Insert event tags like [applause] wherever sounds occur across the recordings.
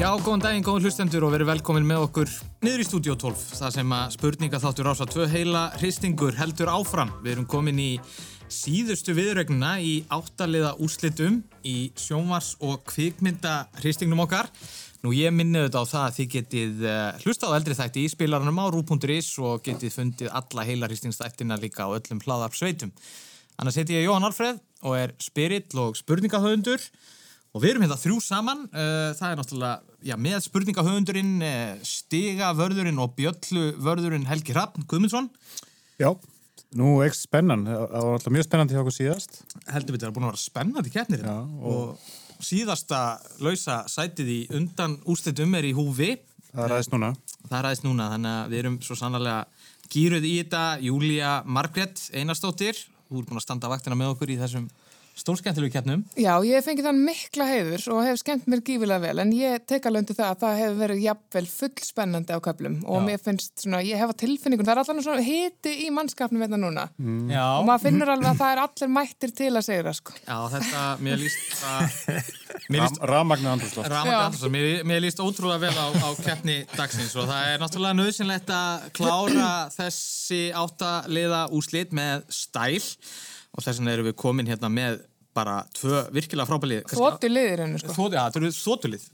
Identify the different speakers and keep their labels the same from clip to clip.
Speaker 1: Já, góðan daginn, góðan hlustendur og verið velkomin með okkur niður í Studio 12, það sem að spurninga þáttur ása tvö heila hristingur heldur áfram. Við erum komin í síðustu viðregnuna í áttaliða úrslitum í sjónvars og kvikmynda hristingnum okkar. Nú ég minni auðvitað á það að þið getið eh, hlustað á eldri þætti í spilaranum á rú.is og getið fundið alla heila hristingsþættina líka á öllum hlaðarpsveitum. Annars heiti ég Jóhann Alfreð og er spyrill og spurningahöfundur Og við erum hérna þrjú saman, uh, það er náttúrulega, já, með spurningahöfundurinn, uh, stigavörðurinn og bjölluvörðurinn Helgi Hrafn Guðmundsson.
Speaker 2: Já, nú ekki spennan. Það það var alltaf mjög spennandi hjá okkur síðast.
Speaker 1: Heldur betur, það er búin að vera spennandi keppnir.
Speaker 2: Já,
Speaker 1: hérna. og síðasta lausa sætið í undan úrslitum er í húfi.
Speaker 2: Það ræðist núna.
Speaker 1: Það ræðist núna, þannig að við erum svo sannarlega gýruð í þetta. Júlia Margrét Einarstóttir, þú er búin að standa vaktina með okkur í þessum stórskemmtilegu keppnum.
Speaker 3: Já, ég hef fengið þann mikla heiður og hef skemmt mér gífilega vel en ég tek alveg undir það að það hefur verið jafnvel fullspennandi á köflum og
Speaker 1: Já.
Speaker 3: mér finnst svona, ég hef á tilfinningun, það er allan svona hiti í mannskapnum þetta núna
Speaker 1: Já.
Speaker 3: og maður finnur alveg að það er allir mættir til að segja það sko.
Speaker 1: Já, þetta, mér líst að, mér líst
Speaker 2: Ram, Ramagnið andrúsloft.
Speaker 1: Ramagn
Speaker 3: Já.
Speaker 1: Andersson, mér, mér líst ótrúlega vel á, á keppni dagsins og það er náttúrulega nöðsynlegt að klára þessi áttaliða úslit með stæl og þess vegna erum við komin hérna með bara tvö virkilega frábælið.
Speaker 3: Þóttu liðir hennu sko.
Speaker 1: Þóttu, já, þetta eru þóttulið.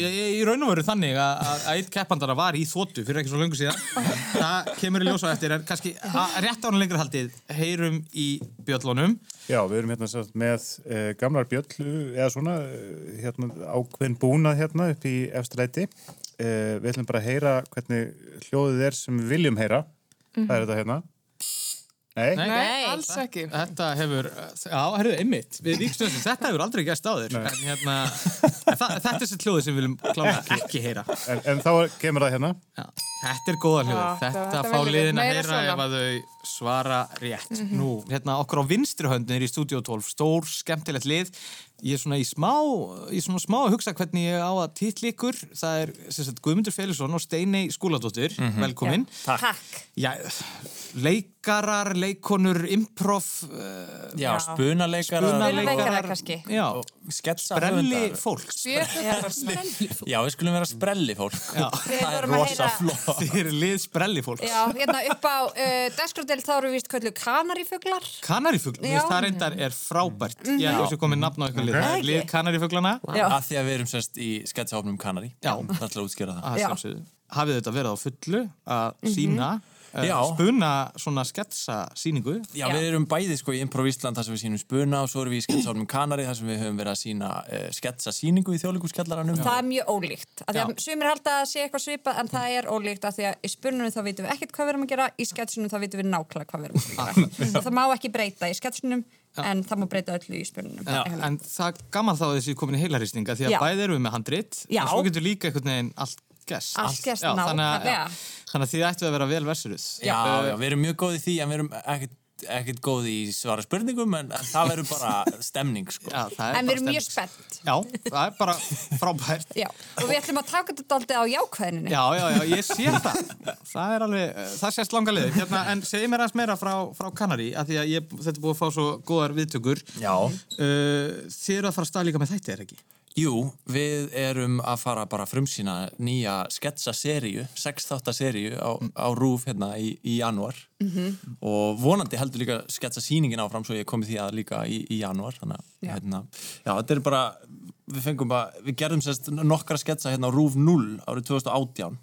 Speaker 1: Ég, ég, ég raun og veru þannig að- að að eitt keppandara var í þóttu fyrir ekki svo löngu síðan. Það kemur í ljósa eftir, en kannski að, rétt ára lengra haldið, heyrum í bjöllunum.
Speaker 2: Já, við erum hérna sem sagt, með eh, gamlar bjöllu, eða svona, eh, hérna, ákveðin búnað hérna upp í efstræti. Eh, við ætlum bara að heyra hvernig hljóðið er sem við viljum heyra.
Speaker 4: Mhm.
Speaker 2: Það er þetta hérna. Nei,
Speaker 1: Nei.
Speaker 3: Nei, alls ekki.
Speaker 1: Þetta hefur, já, herruðu, einmitt Við víkstum þessu, þetta hefur aldrei gæst áður en hérna, en það, þetta er þessi hljóði sem við viljum klána ekki heyra já.
Speaker 2: En, en þá kemur það hérna.
Speaker 1: Þetta er góða hljóði,
Speaker 3: Já,
Speaker 1: þetta,
Speaker 3: þetta
Speaker 1: fá
Speaker 3: viljum við.
Speaker 1: liðin að
Speaker 3: Meira
Speaker 1: heyra
Speaker 3: svona.
Speaker 1: ef að þau svara rétt Nú, hérna okkur á vinstri höndin er í Studio 12 stór, skemmtilegt lið Ég er svona í smá, í svona smá að hugsa hvernig ég á að titla ykkur Það er, sem sagt, Guðmundur Félisson og Steinei Skúladóttir,
Speaker 2: Mhm.
Speaker 1: velkomin
Speaker 4: Takk.
Speaker 1: Já, leikarar, leikonur, improv, uh,
Speaker 4: Já,
Speaker 3: Já.
Speaker 4: spunaleikara
Speaker 1: Spunaleikarar.
Speaker 5: Spunaleikarar kannski.
Speaker 1: Já,
Speaker 4: sketsa
Speaker 1: brelli
Speaker 4: höfundar.
Speaker 1: fólks
Speaker 4: Já, við skulum vera sprelli fólk
Speaker 1: Já.
Speaker 5: Við
Speaker 4: Það er
Speaker 5: vorum að
Speaker 4: rosa
Speaker 5: heyra-
Speaker 4: flott
Speaker 1: [laughs] Þið eru lið sprelli fólks
Speaker 5: Já, hérna upp á uh, dagskrárdel þá eru vist kvöldu kanarífuglar.
Speaker 1: Kanarifugl,
Speaker 5: Já.
Speaker 1: það reyndar er frábært Ég hef þessu komið nafn á eitthvað lið Það er Lið kanarifuglana
Speaker 5: Mhm. Já.
Speaker 4: Af því að við erum semst í sketsahofnum Kanari
Speaker 1: Já.
Speaker 4: Það ætla að útskýra það
Speaker 1: að
Speaker 5: Já. Mhm.
Speaker 1: sjálfsögðu. Hafið þetta verið á fullu að sína
Speaker 4: Já.
Speaker 1: uh, spuna svona sketsa síningu
Speaker 4: Já, við erum bæði sko í Improv Ísland þar sem við sínum spuna og svo erum við í sketsahofnum Kanari þar sem við höfum verið að sína uh, sketsa síningu í þjóðleikurskellaranum
Speaker 5: Það er mjög ólíkt. Af því að
Speaker 1: Já.
Speaker 5: sumir halda að sé eitthvað svipað en það er ólíkt af því að í spurnunum þá vitum við ekkert hvað við erum að gera, í sketsunum þá vitum við nákvæmlega hvað við erum [laughs] að gera. og það má ekki breyta í sketsunum en það má breyta öllu í Hérna. spurnunum.
Speaker 1: Já, en það gaman þá að þessi komin í heilarýstinga því að
Speaker 5: Já.
Speaker 1: bæði erum við með handrit
Speaker 5: Já.
Speaker 1: en svo getur líka einhvern veginn allt gest
Speaker 5: Allt gerst,
Speaker 1: já, þannig, að,
Speaker 5: nákvæmlega.
Speaker 1: já, þannig að þið ættu að vera vel versuruð
Speaker 4: Já, já, við erum mjög góð í því en við erum ekkert, ekkert góð í svara spurningum en, en það verður
Speaker 1: [laughs]
Speaker 4: bara stemning sko
Speaker 1: já, það er
Speaker 5: En
Speaker 1: bara
Speaker 5: við erum mjög
Speaker 1: stemning.
Speaker 5: spennt.
Speaker 1: Já, það er bara frábært
Speaker 5: Já. Og við ætlum að taka þetta aldrei á jákvæðinni.
Speaker 1: Já, já, já, ég sé það. Það er alveg, eh, það sést langa leiðir. Hérna, en segi mér aðeins meira frá, frá Kanari, af því að ég, þetta er búið að fá svo góðar viðtökur.
Speaker 4: Já.
Speaker 1: Uh, þið eru að fara að stað líka með þætti, er ekki?
Speaker 4: [laughs] Jú, við erum að fara bara að frumsýna nýja sketsaseríu, sexþáttaseríu á, á RÚF hérna í, í januar og vonandi heldur líka sketsasýningin áfram svo ég komi því að líka í, í januar þannig að hérna, já, þetta er bara við fengum bara, við gerðum sérst nokkra sketsa hérna á RÚF 0 árið 2018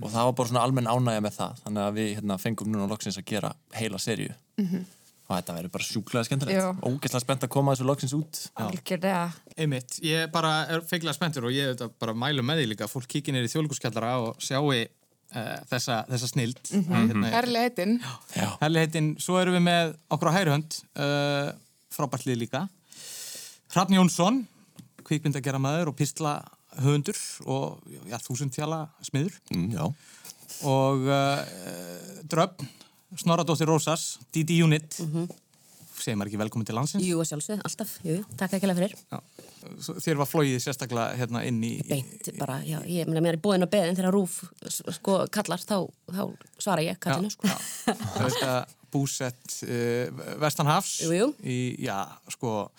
Speaker 4: og það var bara svona almenn ánægja með það þannig að við hérna fengum núna loksins að gera heila seríu
Speaker 5: Mhm.
Speaker 4: og þetta verður bara sjúklega
Speaker 5: Já.
Speaker 4: skemmtilegt, ógeðslega spennt að koma þessu loksins út
Speaker 5: Algjörlega.
Speaker 1: Einmitt. Ég bara er feiklega spenntur og ég þetta bara mælu með því líka. að Fólk kíkir neyri í þjóðlíkuskjallara og sjái uh, þessa, þessa snild. Mm -hmm. hérna,
Speaker 3: Herli heitin.
Speaker 4: Já.
Speaker 1: Herli heitin, svo erum við með okkur á hæruhönd, uh, frábært lið líka. Hrafn Jónsson, kvikmyndagerra maður og pistla höfundur og já, þúsundtjala smiður.
Speaker 4: Mm, já.
Speaker 1: og uh, Dröfn, Snorradóttir Rósas, DD Unit, segir maður ekki velkomin til landsins.
Speaker 6: Jú, að sjálfsögðu, alltaf, jú, jú, takk ekki fyrir
Speaker 1: Já. Svo- Þér var flóið sérstaklega hérna inn í...
Speaker 6: Beint bara, já, ég meina mér er búin að beðin þegar Rúf s- sko kallar, þá, þá svara ég kallinu, sko
Speaker 1: Þetta búsett uh, Vestanhafs
Speaker 6: Jú, jú.
Speaker 1: í, já, sko,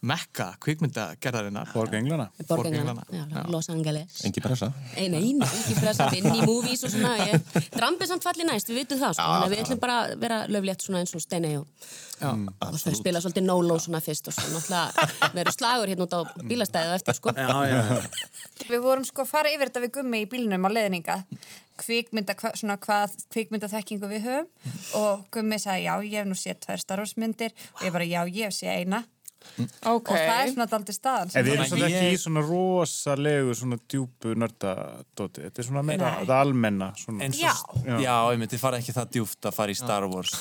Speaker 1: mekka kvikmyndagerðarinnar.
Speaker 2: Borg Englana.
Speaker 1: Borg
Speaker 6: Borg Englana,
Speaker 1: Englana.
Speaker 6: hérna. já, Los Angeles
Speaker 7: Engi pressa.
Speaker 6: Ei, nei, nei, ekki fyrir þess að inn í movies og svona ég, Drambið samt falli næst, við vitum það sko, þannig að við ætlum bara að vera löflétt svona eins og Steinei og, og svona spila svolítið no-low svona fyrst og svona náttúrulega verður slagur hérna út á bílastæðið á eftir sko
Speaker 8: Já, já.
Speaker 5: Við vorum sko að fara yfir þetta við gummi í bílnum á leðninga kvikmynda, hva, svona hvað kvikmynda þekkingu við höfum og gummi sagði já, ég hef nú séð tvær starfsmyndir og ég bara já, ég hef séð eina
Speaker 3: Ok.
Speaker 5: og það er svona daldi staðan
Speaker 2: En við erum
Speaker 4: Þannig
Speaker 2: svolítið
Speaker 4: ég-
Speaker 2: ekki í svona rosalegu, svona djúpu nördadóti. Þetta er svona meira
Speaker 5: Nei.
Speaker 2: það almenna. Svona.
Speaker 4: En svo,
Speaker 5: Já.
Speaker 4: já, já einmitt, þið fara ekki það djúft að fara í Star Wars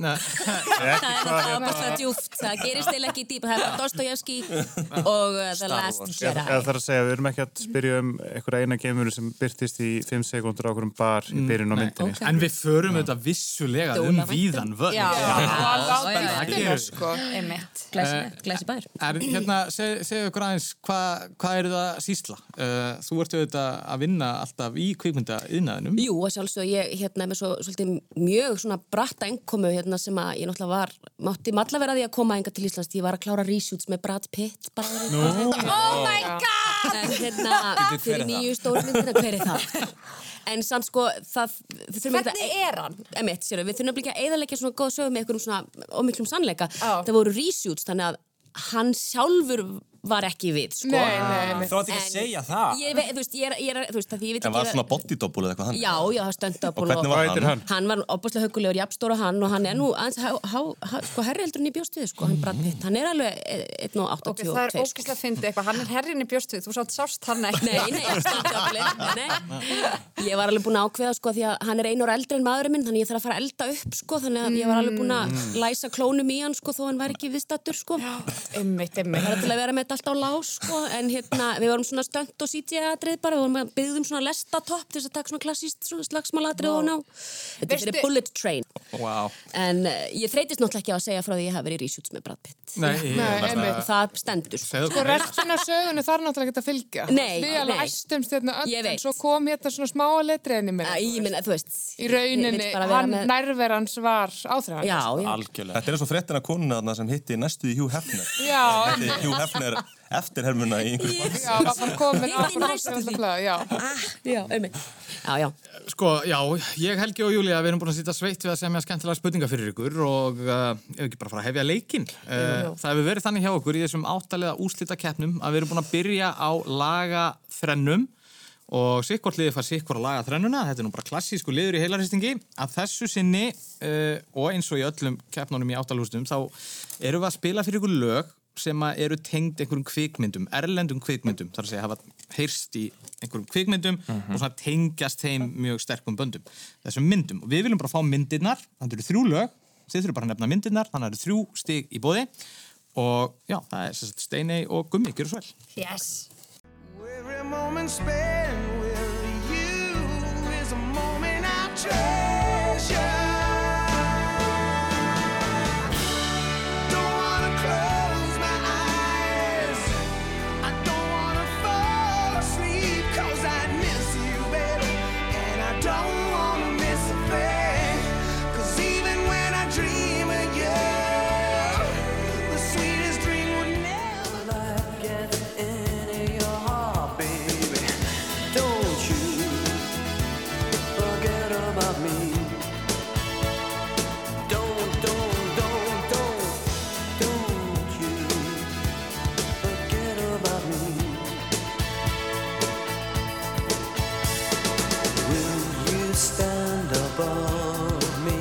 Speaker 1: Nei,
Speaker 6: Það er náttúrulega bara djúft, það gerist eða ekki dýpa, það er bara Dostoyevsky og uh, The
Speaker 4: Star
Speaker 6: Last
Speaker 4: Wars.
Speaker 2: Eða eða
Speaker 6: Jedi.
Speaker 2: þarf að segja, við erum ekki að spyrja um einhverja eina geimuru sem byrtist í 5 sekundur á okkurum bar í byrjun á myndinni.
Speaker 6: ok.
Speaker 1: en við förum auðvitað vissulega um
Speaker 6: Dólavæntum.
Speaker 1: víðan völd.
Speaker 5: Já,
Speaker 3: Það
Speaker 6: já, já,
Speaker 3: láta
Speaker 1: já.
Speaker 3: líftina, sko.
Speaker 5: einmitt
Speaker 6: Glæsi- Glæsi bær.
Speaker 1: Er, hérna, seg, segðu okkur aðeins, hvað hva er það að sýsla? Uh, þú ert auðvitað að vinna alltaf í kvikmynda yðnaðinum.
Speaker 6: Jú, og sjálfsög ég hérna er með svo svolítið mjög svona bratta engkomu hérna sem að ég náttúrulega var, mátti malla vera því að koma enga til Íslands, ég var að klára reshoots með Brad Pitt bara verið no.
Speaker 5: Oh my god!
Speaker 6: en hérna
Speaker 4: hver er
Speaker 6: fyrir
Speaker 4: það?
Speaker 6: nýju stórmyndina, hver er það? En samt sko, það, við þurfum ekki
Speaker 5: Hvernig er hann?
Speaker 6: Emitt, séru, við þurfum ekki að eðalegja svona góð sögum með einhverjum svona ómiklum sannleika.
Speaker 5: Já.
Speaker 6: Það voru reshoots, þannig að hann sjálfur var ekki við, sko.
Speaker 3: Nei, nei, nei.
Speaker 4: Þú átt ekki að
Speaker 6: En-
Speaker 4: segja það
Speaker 6: Ég, vei- þú veist, ég er, ég er, þú veist, að því ég veit
Speaker 7: En
Speaker 6: ekki...
Speaker 7: var svona bodydobbul eða eitthvað hann?
Speaker 6: Já, já, það stönda upp
Speaker 7: Og hvernig var hann?
Speaker 6: Hann var opaslega haugulegur, jafnstóra hann og hann er nú aðeins, há, há, há, sko, herri heldur en ég bjóst við, sko, hann Brad Pitt, hann er alveg eh, 1,82.
Speaker 5: Ok, það er
Speaker 6: sko.
Speaker 5: ógæslega að fyndi eitthvað, hann er herrinni bjóst við, þú sátt sást hann ekki
Speaker 6: Nei, nei, ég standi allir nei. Ég var alveg búin að ákveða sko því að hann er einu ára eldri en maðurinn minn þannig ég þarf að fara að elda upp sko þannig að ég var alveg búin
Speaker 1: Mm.
Speaker 6: að læsa klónum í hann sko þó hann væri ekki viðstattur sko
Speaker 3: Einmitt,
Speaker 6: bara
Speaker 3: einmitt.
Speaker 6: til að vera með þetta allt á lás sko en hérna við vorum svona stönd og CGI-atrið bara við vorum að byggðum svona lestatopp til þess að taka svona klassíst svona slagsmálatrið og ná Þetta er
Speaker 5: Veistu-
Speaker 6: fyrir Bullet Train
Speaker 1: Wow.
Speaker 6: en uh, ég þreytist náttúrulega ekki á að segja frá því að ég hafi verið í reshoots með Brad Pitt
Speaker 1: Nei,
Speaker 3: Nei,
Speaker 1: ég-
Speaker 3: einmitt.
Speaker 6: og það stendur sko.
Speaker 1: segðu
Speaker 3: Sko,
Speaker 1: okkur meira.
Speaker 3: restin af sögunni þarf náttúrulega ekki að fylgja.
Speaker 6: Nei,
Speaker 3: Við alveg
Speaker 6: nei.
Speaker 3: æstumst hérna öll,
Speaker 6: Ég
Speaker 3: en
Speaker 6: veit.
Speaker 3: svo kom hérna svona smáa letriðinni
Speaker 6: Æ,
Speaker 3: mér.
Speaker 6: ég minna, þú veist
Speaker 3: Í
Speaker 6: ég
Speaker 3: rauninni,
Speaker 6: vill bara vera
Speaker 3: hann
Speaker 6: með-
Speaker 3: nærverans var sko.
Speaker 6: Já,
Speaker 3: áþræðan.
Speaker 6: já,
Speaker 4: Algjörlega
Speaker 7: Þetta er eins og fréttina konuna þarna sem hitti næstu í Hugh Hefner.
Speaker 3: Já.
Speaker 7: Hitti Hugh Hefner eftirhermuna í einhverju yes.
Speaker 3: Já, var bara komin
Speaker 6: Ég
Speaker 3: á
Speaker 6: var í næstu því.
Speaker 3: Já,
Speaker 6: já, einmitt. já, já.
Speaker 1: Sko, já, ég, Helgi og Júlia, við erum búin að sýta sveitt við að semja skemmtilega spurningar fyrir ykkur og uh, ef ekki bara fara að hefja leikinn. Uh, það hefur verið þannig hjá okkur í þessum áttalega úslita keppnum að við erum búin að byrja á laga þrennum og sikkort liðið fær sikkort að laga þrennuna, þetta er nú bara klassísku liður í heilaristingi, að þessu sinni uh, og eins og í öllum keppnunum í áttalústum þá erum við að spila fyrir ykkur lög sem að eru tengd einhverjum kvikmyndum, erlendum kvikmyndum, þar að segja hafa heyrst í einhverjum kvikmyndum og svona tengjast þeim mjög sterkum böndum, þessum myndum. Og við viljum bara fá myndirnar, þannig eru þrjú lög, þið þurfum bara að nefna myndirnar, þannig eru þrjú stig í bóði og já, það er sérst Steinei og Gummi, gerur svo vel.
Speaker 5: Yes
Speaker 9: Every moment spent with you is a moment I treasure. Don't wanna close my eyes. I don't wanna fall asleep 'cause I miss you, baby, and I don't wanna miss a thing. 'Cause even when I dream of you, the sweetest dream would never get into your heart, baby. Don't you forget about me. Don't, don't, don't, don't, don't you forget about me. Will you stand above me?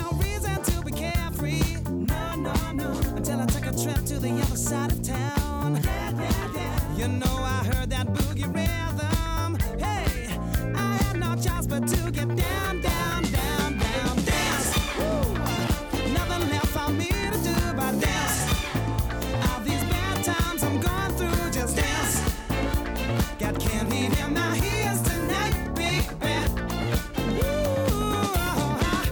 Speaker 9: No reason to be carefree. No, no, no. Until I take a trip to the other side of town. Yeah, yeah, yeah. You know I heard that boogie rhythm. Hey, I had no choice but to get down, down, down, down, dance. Woo. Nothing left for me to do but dance. All these bad times I'm going through, just dance. God can't leave him now. He is tonight, big bad. Ooh,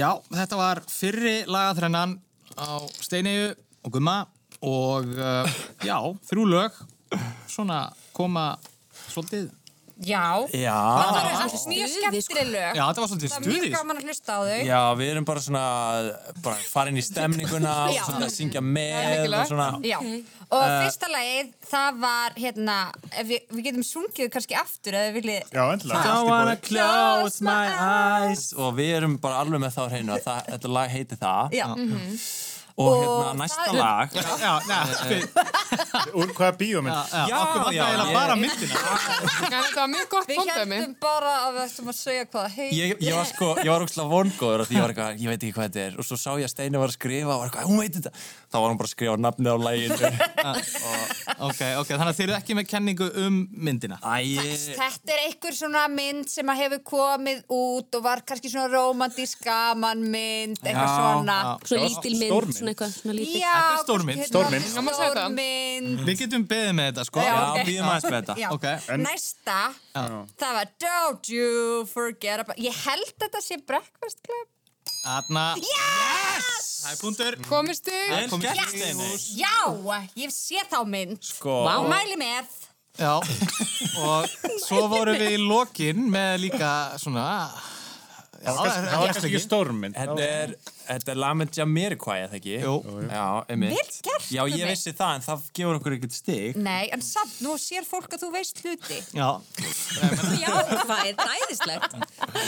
Speaker 1: Já, þetta var fyrri lagaþrennan á Steineiu og Gumma og uh, já, þrjú lög svona koma svolítið
Speaker 5: Já,
Speaker 4: Já,
Speaker 5: það eru allt
Speaker 6: Stuði,
Speaker 5: mjög
Speaker 6: sko.
Speaker 5: skemmtileg lög
Speaker 1: Já, þetta var svolítið
Speaker 5: Það er mjög
Speaker 1: stuðis.
Speaker 5: gaman að hlusta á þau
Speaker 4: já, við erum bara svona bara farin í stemninguna og
Speaker 5: Já.
Speaker 4: svona að syngja með og
Speaker 3: mikilvægt.
Speaker 4: svona Eh.
Speaker 5: Já, og fyrsta lagið, það var hérna, ef við, við getum sungið kannski aftur eða við viljið
Speaker 2: Já, endilega.
Speaker 4: I
Speaker 2: Allt í
Speaker 4: don't wanna
Speaker 2: boði.
Speaker 4: close my eyes og við erum bara alveg með þá á hreinu að það- þetta lag heiti það
Speaker 5: Já, Mhm.
Speaker 4: og
Speaker 5: Og
Speaker 4: hérna næsta
Speaker 5: það-
Speaker 4: lag
Speaker 1: Já, neða,
Speaker 2: Úr hvaða bíómynd?
Speaker 1: já, okkur var
Speaker 4: já,
Speaker 1: það eiginlega
Speaker 4: ég-
Speaker 1: bara myndina.
Speaker 3: En þetta var mjög gott
Speaker 5: við
Speaker 3: fóndæmi.
Speaker 5: heldum bara að við ættum að segja hvað það heitir
Speaker 4: ég, ég var sko, ég var ógslag vongóður af því ég var eitthvað, ég veit ekki hvað þetta er og svo sá ég að Steini var að skrifa og var eitthvað, hún veit þetta þá var hún bara að skrifa nafnið á læginu
Speaker 2: [laughs]
Speaker 1: Ok, ok, þannig að þeir eru ekki með kenningu um myndina.
Speaker 4: Æ,
Speaker 5: Þetta er einhver svona mynd sem að hefur komið út og var kannski svona romantísk gaman mynd, eitthvað
Speaker 4: Já,
Speaker 5: svona.
Speaker 6: Svona lítil mynd, svona eitthvað, svona lítil.
Speaker 5: Já,
Speaker 1: Þetta er stór mynd.
Speaker 5: kannski
Speaker 2: Stór
Speaker 5: hérna
Speaker 2: mynd.
Speaker 3: Já, maður segir það.
Speaker 5: Stór mynd.
Speaker 1: Við getum beðið með þetta, sko.
Speaker 5: Já,
Speaker 4: já,
Speaker 5: ok.
Speaker 4: býðum aðeins með þetta
Speaker 5: Já.
Speaker 1: Ok.
Speaker 5: Næsta, það var Don't you forget about... Ég held að þetta sé Breakfast Club.
Speaker 1: Þarna, yes! Það er punktur.
Speaker 3: Komist þig?
Speaker 4: Vel
Speaker 1: Komið
Speaker 4: gert,
Speaker 1: til-
Speaker 4: Steini.
Speaker 5: Já, ég sé þá mynd.
Speaker 4: sko,
Speaker 6: Vá.
Speaker 5: Mæli með.
Speaker 1: Já, og svo vorum við í lokin með líka svona... Já,
Speaker 2: Það var kannski ekki stórmynd.
Speaker 4: þetta er þetta er Lament Jamiroquai, eða ekki?
Speaker 1: Jú.
Speaker 4: Já, einmitt
Speaker 5: Vel gert,
Speaker 4: Já, ég
Speaker 5: Gummi.
Speaker 4: vissi það, en það gefur okkur ekkert stig
Speaker 5: Nei, en samt, nú sér fólk að þú veist hluti.
Speaker 1: Já,
Speaker 6: [laughs] Já, hvað er það æðislegt?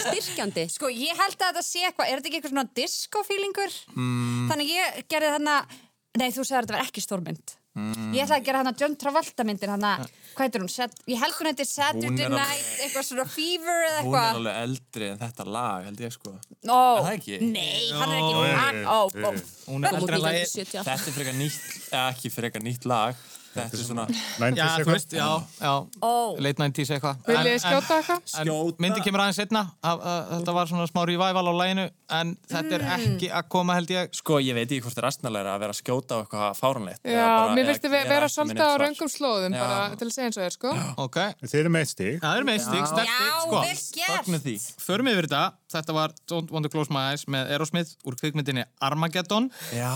Speaker 6: Styrkjandi.
Speaker 5: Sko, ég held að þetta sé eitthvað, er þetta ekki eitthvað svona disco-feelingur? Mm. Þannig ég gerði þarna, nei þú sagði að þetta var ekki stórmynd. Mm. Ég ætlaði að gera þarna John Travolta myndir, hana, hvað heitir hún? Sat, ég held hún heitir
Speaker 4: Hún
Speaker 5: Saturday
Speaker 4: er alveg-
Speaker 5: Night, eitthvað svona Fever eða
Speaker 4: Hún er
Speaker 5: eitthvað.
Speaker 4: alveg eldri en þetta lag, held ég sko
Speaker 5: Ó,
Speaker 4: Er það ekki?
Speaker 5: Nei, hann er ekki, hann, ó, ó.
Speaker 1: hún er
Speaker 6: Kom út
Speaker 1: eldri en lagi.
Speaker 6: 1970.
Speaker 4: Þetta er frekar nýtt, eða ekki frekar nýtt lag Þetta er svona
Speaker 1: Já,
Speaker 2: Nændis
Speaker 1: þú veist,
Speaker 2: eitthvað.
Speaker 1: já, já.
Speaker 5: Ó.
Speaker 1: Late 90s eitthvað.
Speaker 3: Viljið
Speaker 1: En-
Speaker 3: þið skjóta eitthvað?
Speaker 1: En myndi kemur aðeins setna þetta var svona smá revival á læginu en þetta er
Speaker 5: Mm.
Speaker 1: ekki að koma held ég
Speaker 4: Sko, ég veit ekki hvort það er astnalega að vera að skjóta á eitthvað fáranlegt
Speaker 3: Já, mér finnst þið ve- vera svolítið á raungum slóðum
Speaker 4: Já.
Speaker 3: bara til að segja eins og þér, sko.
Speaker 1: ok,
Speaker 2: Þeir eru með eitt stig.
Speaker 1: það er meistig,
Speaker 5: Já,
Speaker 1: stertig, sko
Speaker 5: vel
Speaker 4: Fagnu
Speaker 5: gert.
Speaker 4: því
Speaker 1: förum yfir þetta, þetta var Don't Want to Close My Eyes með Aerosmith úr kvikmyndinni Armageddon
Speaker 4: Já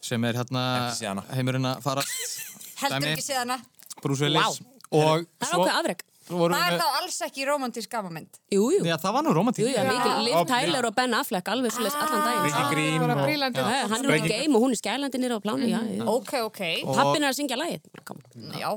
Speaker 1: sem er hérna
Speaker 4: Ekki séð hana.
Speaker 1: heimurinn að farast
Speaker 5: Heldur
Speaker 1: Dæmi.
Speaker 5: ekki séð hana.
Speaker 1: Bruce Willis og
Speaker 6: Það er
Speaker 1: svo
Speaker 6: ákveð afreg.
Speaker 1: vorum
Speaker 5: Það er
Speaker 1: við
Speaker 5: þá alls ekki romantísk gamanmynd.
Speaker 6: Jú, jú.
Speaker 1: Já, það var nú romantík
Speaker 6: Jú, já, mikil. Liv Tyler og Ben Affleck, alveg svolítið
Speaker 5: Ah,
Speaker 6: allan daginn.
Speaker 2: Vicky Green
Speaker 3: Bara
Speaker 2: og...
Speaker 3: brílandi.
Speaker 6: Já, já, hann er úr game og hún er skælandi nýra á plánu, já, já.
Speaker 5: Ok, ok.
Speaker 6: Pappin er að syngja lagið. Kom.
Speaker 5: Já,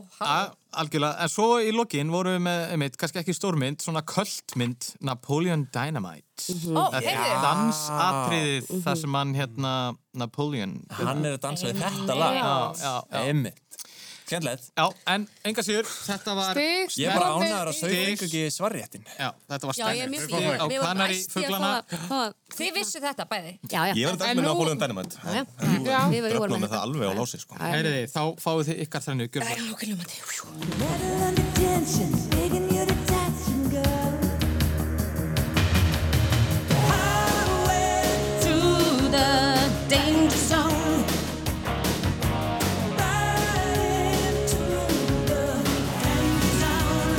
Speaker 1: A-
Speaker 5: hann.
Speaker 1: Algjörlega, en svo í lokin vorum við með, einmitt, kannski ekki stórmynd, svona kultmynd, Napoleon Dynamite.
Speaker 6: Mhm.
Speaker 5: Ó,
Speaker 1: Þetta er
Speaker 5: heyrðu.
Speaker 1: dansatriðið þar sem hann hérna Napoleon
Speaker 4: Hann er að dansa við þetta lag
Speaker 1: já, já.
Speaker 4: Einmitt Kjærlegt
Speaker 1: Já, en enga síður, þetta var
Speaker 3: Stig,
Speaker 4: Ég er bara
Speaker 3: snorri.
Speaker 4: ánæður að þau
Speaker 1: Stig.
Speaker 4: fengu ekki svarréttin
Speaker 1: Já, þetta var
Speaker 6: Já, ég er mjög
Speaker 1: stærkt
Speaker 6: fín.
Speaker 1: á
Speaker 6: Við vorum
Speaker 1: kanari
Speaker 6: æst í að
Speaker 1: fuglana
Speaker 6: fá að- fá að...
Speaker 5: Þið vissu þetta bæði.
Speaker 6: Já, já.
Speaker 7: Ég var þetta
Speaker 3: En
Speaker 7: ekki með
Speaker 3: nú-
Speaker 7: Napoleon Dynamite.
Speaker 6: Já,
Speaker 7: En
Speaker 6: já.
Speaker 7: Þú
Speaker 3: Já.
Speaker 6: Við- við vorum
Speaker 7: dröfnum
Speaker 6: með
Speaker 7: með það alveg á lási, sko.
Speaker 1: Heyriði, þá fáið þið ykkar þrennu gjörðu.
Speaker 6: Já, ok, ljómandi. Jú, jú.
Speaker 8: Metal under
Speaker 10: 그
Speaker 8: tension, begging you to touch and go. Highway
Speaker 6: Through the danger zone
Speaker 8: riding through the end zone.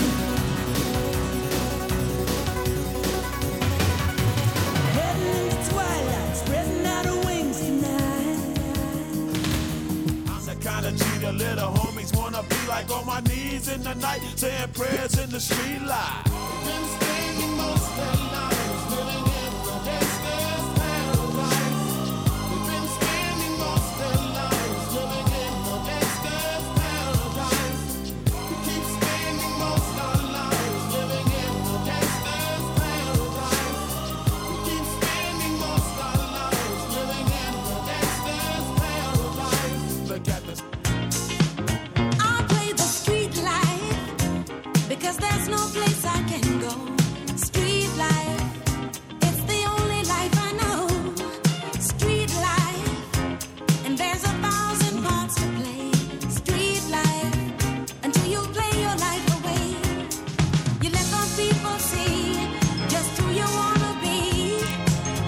Speaker 8: Heading into twilight, spreading out her wings tonight.
Speaker 10: I'm the kind of cheater little homies wanna be like on my knees in the night, saying prayers in the street light. Been spending most of their lives living in the gangster's paradise. We've been spending most of their lives living in the gangster's paradise. We keep spending most our lives living in the gangster's paradise. We keep spending most our lives living in the gangster's paradise. Look at this.
Speaker 8: I play the street life because there's no place I can go. Street life, it's the only life I know. Street life, and there's a thousand parts to play. Street life, until you play your life away. You let the people see just who you wanna be,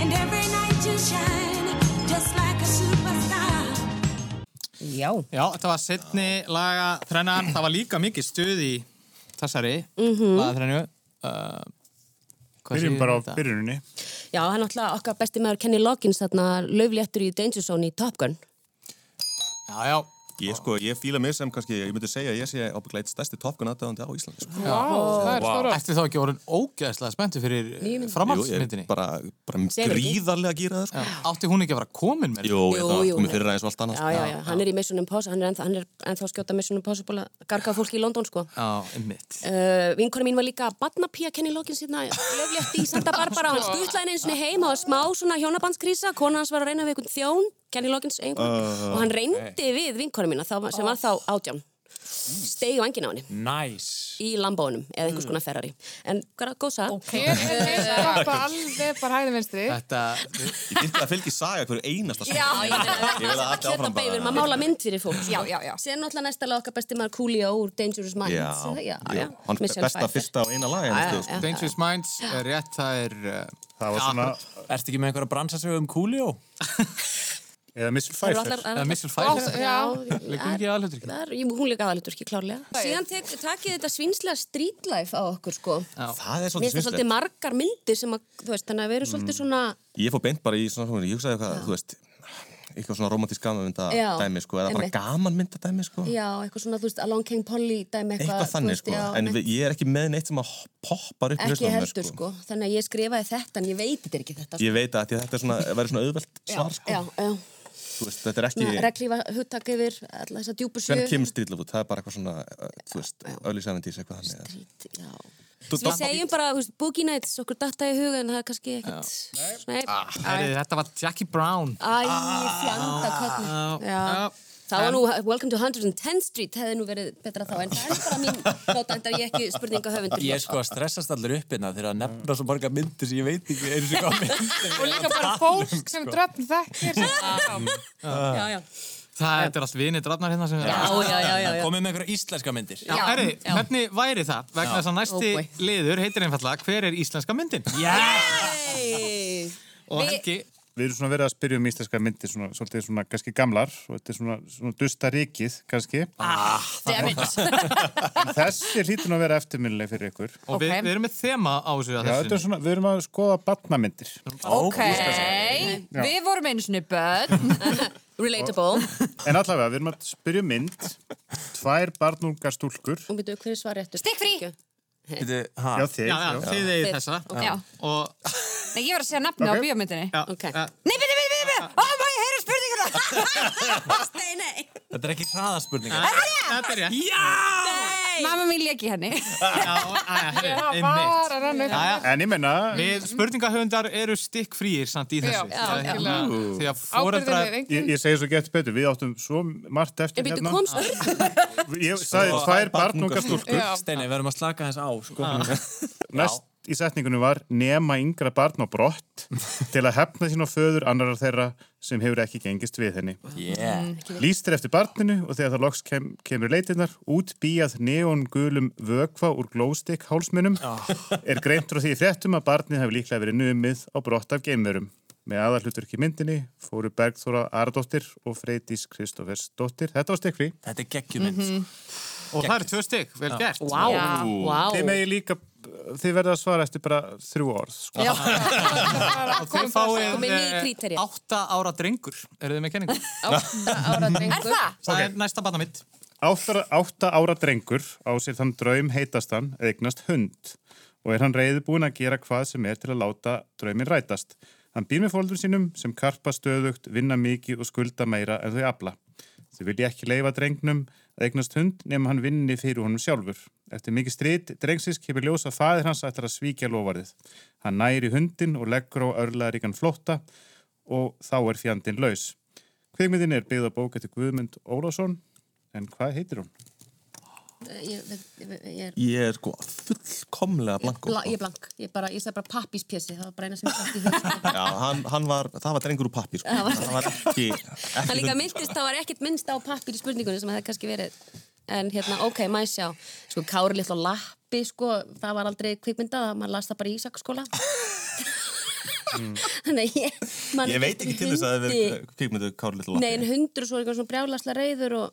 Speaker 8: and every night you shine just like a superstar.
Speaker 6: Já.
Speaker 1: Já, þetta var setni laga þrennan, það var líka mikið stuð í þessari
Speaker 6: Mhm.
Speaker 1: laga þrennu. Uh,
Speaker 2: Byrjum bara á byrjuninni.
Speaker 6: Já, hann náttúrulega okkar besti maður Kenny Loggins þarna laufléttur í Danger Zone í Top Gun.
Speaker 1: Já, já,
Speaker 7: Ég sko, ég fíla mig sem kannski, ég myndi segja að ég sé ábygglega eitt stærsti topgun aðdáðandi á Íslandi sko.
Speaker 3: Vá, það er
Speaker 1: Vá.
Speaker 3: stóra.
Speaker 1: Ertu þá ekki orðin ógæðslega spenntu fyrir
Speaker 6: Nýju
Speaker 7: Jú,
Speaker 6: myndinni.
Speaker 7: ég er
Speaker 1: framhaldsmyndinni?
Speaker 7: bara, bara
Speaker 6: Sefur ekki.
Speaker 7: gríðarlega gýrað sko.
Speaker 1: Átti hún ekki að vera komin með
Speaker 7: Jú, ég
Speaker 6: Jú,
Speaker 7: það
Speaker 6: jú,
Speaker 7: komið
Speaker 6: nei.
Speaker 7: fyrir aðeins og allt annað sko.
Speaker 6: Já, já, já, hann er í Mission Impossible, hann er ennþá, hann er ennþá að skjóta Mission Impossible að garga fólki í London, sko.
Speaker 1: Já, einmitt.
Speaker 6: Uh, vinkona mín var líka að badnapía Kenny Loggins hérna, löflétt í Santa Barbara og hann skuttlaði henni einu sinni heim og var smá svona hjónabandskrísa, kona hans var að reyna við einhvern þjón, Kenny Loggins einhvern, og hann reyndi við vinkona mína þá, sem var þá átján, steig á engin á henni
Speaker 4: Nice.
Speaker 6: í lambónum eða einhvers konar ferrari. En hvað er góð satt?
Speaker 3: Ég er með pappa alveg bara hæði vinstri.
Speaker 1: Þetta,
Speaker 7: Ég finnst að fylgja í saga hverju einasta
Speaker 5: Já,
Speaker 7: saga.
Speaker 5: ég meina,
Speaker 7: Ég vil að allt
Speaker 6: Kletta
Speaker 7: áfram
Speaker 6: beig, við erum
Speaker 7: bara
Speaker 6: að mála mynd fyrir fólk.
Speaker 5: Já, já, já.
Speaker 6: Sér náttúrulega næsta lag okkar besti maður Coolio úr Dangerous Minds.
Speaker 7: Já,
Speaker 6: er það? já,
Speaker 7: jú,
Speaker 6: já.
Speaker 7: hann
Speaker 6: Michelle
Speaker 7: besta
Speaker 6: Pfeiffer.
Speaker 7: fyrsta og eina laga
Speaker 6: Já, já,
Speaker 7: henni,
Speaker 6: já.
Speaker 1: Dangerous Minds, er rétt, það er... Uh,
Speaker 2: sko. Það var svona,
Speaker 4: Ertu ekki með einhverja bransasögu um Coolio?
Speaker 2: eða Missile
Speaker 6: Það eru
Speaker 2: Pfeiffer.
Speaker 6: allar- það
Speaker 1: eða
Speaker 6: eru allar-
Speaker 1: Missile Pfeiffer.
Speaker 6: Já,
Speaker 1: Leikur ekki aðalhutverkið?
Speaker 6: Það er, jú, hún líka aðalutverki klárlega. Síðan tek, takið þetta svinslega street life á okkur, sko.
Speaker 7: Það er
Speaker 6: Mér
Speaker 7: svolítið Mm.
Speaker 6: finnst það svolítið
Speaker 7: svinslegt.
Speaker 6: margar myndir sem að, þú veist, þannig að við erum svolítið svona,
Speaker 7: Ég fór beint bara í svona, svona, ég hugsaði eitthvað, þú veist, eitthvað svona romantísk gamanmynda
Speaker 6: Já,
Speaker 7: dæmi, sko, eða bara
Speaker 6: einmitt.
Speaker 7: gamanmynda dæmi, sko.
Speaker 6: já, eitthvað svona, þú veist, Along Came Polly dæmi eitthvað.
Speaker 7: Eitthvað
Speaker 6: þú
Speaker 7: þannig,
Speaker 6: veist,
Speaker 7: sko.
Speaker 6: já,
Speaker 7: En um við- ég er ekki með neitt sem að poppar upp í
Speaker 6: Ekki
Speaker 7: hausnum á mér,
Speaker 6: heldur, sko. Þannig að ég skrifaði þetta, en ég veit þetta er ekki þetta, sko.
Speaker 7: Ég veit að þetta er svona, verður svona auðvelt svar,
Speaker 6: Já,
Speaker 7: sko.
Speaker 6: já.
Speaker 7: Þú veist, þetta er
Speaker 6: Svona
Speaker 7: ekki,
Speaker 6: reglífa huttak yfir alla þessa djúpu sjö.
Speaker 7: hvern kemur stýrlefút, það er bara eitthvað svona, uh, þú veist, early 70s eitthvað þannig. eða-
Speaker 6: Street, já.
Speaker 7: Þú-
Speaker 6: Við segjum bara, þú veist, Boogie Nights, okkur datta í huga, en það er kannski ekkert... Nei.
Speaker 7: Ah,
Speaker 1: Herri, Þetta var Jackie Brown.
Speaker 6: Æ, fjanda
Speaker 7: ah,
Speaker 6: kallið. Já.
Speaker 1: Já.
Speaker 6: Það var nú, Welcome to 110th Street hefði nú verið betra þá, en það er bara mín nota, en það er ég ekki spurninga höfundur.
Speaker 4: Ég er sko að stressast allir upp hérna þegar að nefna svo marga myndir sem ég veit ekki eins og hvað myndir.
Speaker 3: Og líka bara fólk sem dröfn þekkir.
Speaker 6: Já, já.
Speaker 1: Það þetta er allt vinið drafnar hérna sem...
Speaker 6: Já, já, já, já, já.
Speaker 4: Komið með einhverja íslenska myndir.
Speaker 1: Já, herri, hvernig væri það? Vegna þess að næsti
Speaker 6: Ó, Oh, boy.
Speaker 1: liður heitir einfallega Hver er íslenska myndin?
Speaker 4: Yeah!
Speaker 6: Hey.
Speaker 1: Og Helgi,
Speaker 2: Við erum svona verið að spyrja um íslenska myndir, svona, svolítið svona kannski gamlar og þetta er svona, svona dusta rikið kannski.
Speaker 1: Ah,
Speaker 10: Ah,
Speaker 6: Damn
Speaker 10: [laughs]
Speaker 6: it.
Speaker 2: En þessi hlýtur nú að vera eftirminnileg fyrir ykkur.
Speaker 1: og við, við erum með þema á þessu
Speaker 2: Já,
Speaker 1: að
Speaker 2: þetta
Speaker 1: þessu.
Speaker 2: er svona, við erum að skoða batnamyndir.
Speaker 5: Ok, við vorum einu sinni börn
Speaker 6: [laughs] Relatable.
Speaker 2: En allavega, við erum að spyrja um mynd, tvær barnungar stúlkur,
Speaker 6: Og byrjuðu, hver er svar réttur?
Speaker 5: Stikk frí.
Speaker 4: Bíddu, ha?
Speaker 2: já þig,
Speaker 1: Já, já,
Speaker 2: já.
Speaker 1: þið eigið þessa.
Speaker 5: Já.
Speaker 1: Og,
Speaker 5: Nei, ég var að segja nafni á bíómyndinni
Speaker 1: já,
Speaker 6: Ok.
Speaker 1: já,
Speaker 5: Nei, byrju, byrju, byrju, byrju Ó, má ég heyra spurninguna
Speaker 6: Nei, nei.
Speaker 4: Þetta er ekki hraðaspurninga.
Speaker 1: þetta er rétt.
Speaker 5: Mamma mín leki henni [laughs]
Speaker 1: Já, já, herri,
Speaker 3: Var
Speaker 1: einmitt.
Speaker 3: að rann upp.
Speaker 1: Já, já.
Speaker 2: En ég menna,
Speaker 1: Við spurningahöfundar eru stikk frýir samt í þessu.
Speaker 3: Já, já, algjörlega.
Speaker 1: Því að
Speaker 3: Ábyrðin
Speaker 1: foreldra...
Speaker 3: er engin.
Speaker 2: ég, ég segi svo gett betur, við áttum svo margt
Speaker 6: Ég
Speaker 2: eftir hérna.
Speaker 6: byrjuðu, kom spurning.
Speaker 2: Ég sagði tvær barnungar stúlkur.
Speaker 3: Já.
Speaker 4: Steini, við verðum að slaka þess á, sko.
Speaker 2: Næst í setningunum var nema yngra barn á brott
Speaker 4: [laughs]
Speaker 2: til að hefna sín á föður annarar þeirra sem hefur ekki gengist við henni.
Speaker 4: Yeah.
Speaker 2: Lýstir eftir barninu og þegar það loks kem, kemur leitinnar, útbíjað neongulum vökva úr glóstik hálsmunum er greint frá því í fréttum að barnið hefur líklega verið numið á brott af geimverum. Með aðalhutur ekki myndinni fóru Bergþóra Aradóttir og Freydís Kristófersdóttir. Þetta var stekfri.
Speaker 4: Þetta er geggjumynd, sko.
Speaker 1: Og það eru tvö stygg, vel gert.
Speaker 6: Vá, vá.
Speaker 2: Þið megi líka, þið verða að svara eftir bara þrjú orð. Sko.
Speaker 1: [laughs] Og þið
Speaker 6: Komið ný
Speaker 1: fáið
Speaker 6: kríteri.
Speaker 1: eh, átta ára drengur. Eru þið með kenningu?
Speaker 6: Átta ára drengur. Er það?
Speaker 1: Það er næsta banna mitt.
Speaker 2: Átta, átta ára drengur á sér þann draum heitast hann eða eignast hund og er hann reyðbúin að gera hvað sem er til að láta draumin rætast. Hann býr með fóldur sínum sem karpa stöðugt, vinna mikið og skulda meira en þau afla. Þau vilja ekki leifa drengnum að eignast hund nema hann vinni fyrir honum sjálfur. Eftir mikið strýt, drengsins kemur ljós að faðir hans ætlar að svíkja lofarðið. Hann næri hundin og leggur á örlaðaríkan flótta og þá er fjandin laus. Kvikmyndin er byggð á bók eftir Guðmund Ólásson en hvað heitir hún?
Speaker 6: Eh, Ég ég- ég er...
Speaker 7: Ég er sko fullkomlega
Speaker 6: [laughs]
Speaker 7: blanko.
Speaker 6: Bla, ég er blank, ég, bara, ég sagði bara pappíspjessi, það var bara eina sem ég
Speaker 7: [laughs]
Speaker 6: fætti í hugsa.
Speaker 7: Já, hann, hann var, það var drengur úr pappir sko. Það var ekki,
Speaker 6: [laughs] Það
Speaker 7: ekki
Speaker 6: líka myndist, það var ekkert minnst á pappir í spurningunni sem það hefði kannski verið. En hérna, ok, maður sjá, sko, Kári litla lappi, sko, það var aldrei kvikmynda, það- maður las það bara í ísaksskóla. [laughs]
Speaker 2: Mm.
Speaker 6: Þannig að ég... man
Speaker 7: Ég veit
Speaker 6: eftir
Speaker 7: ekki til þess að það hefur
Speaker 6: hundi-
Speaker 7: verið kvikmyndu Kári Little
Speaker 6: Nei, en hundur og svo er eitthvað svona brjálasla reyður og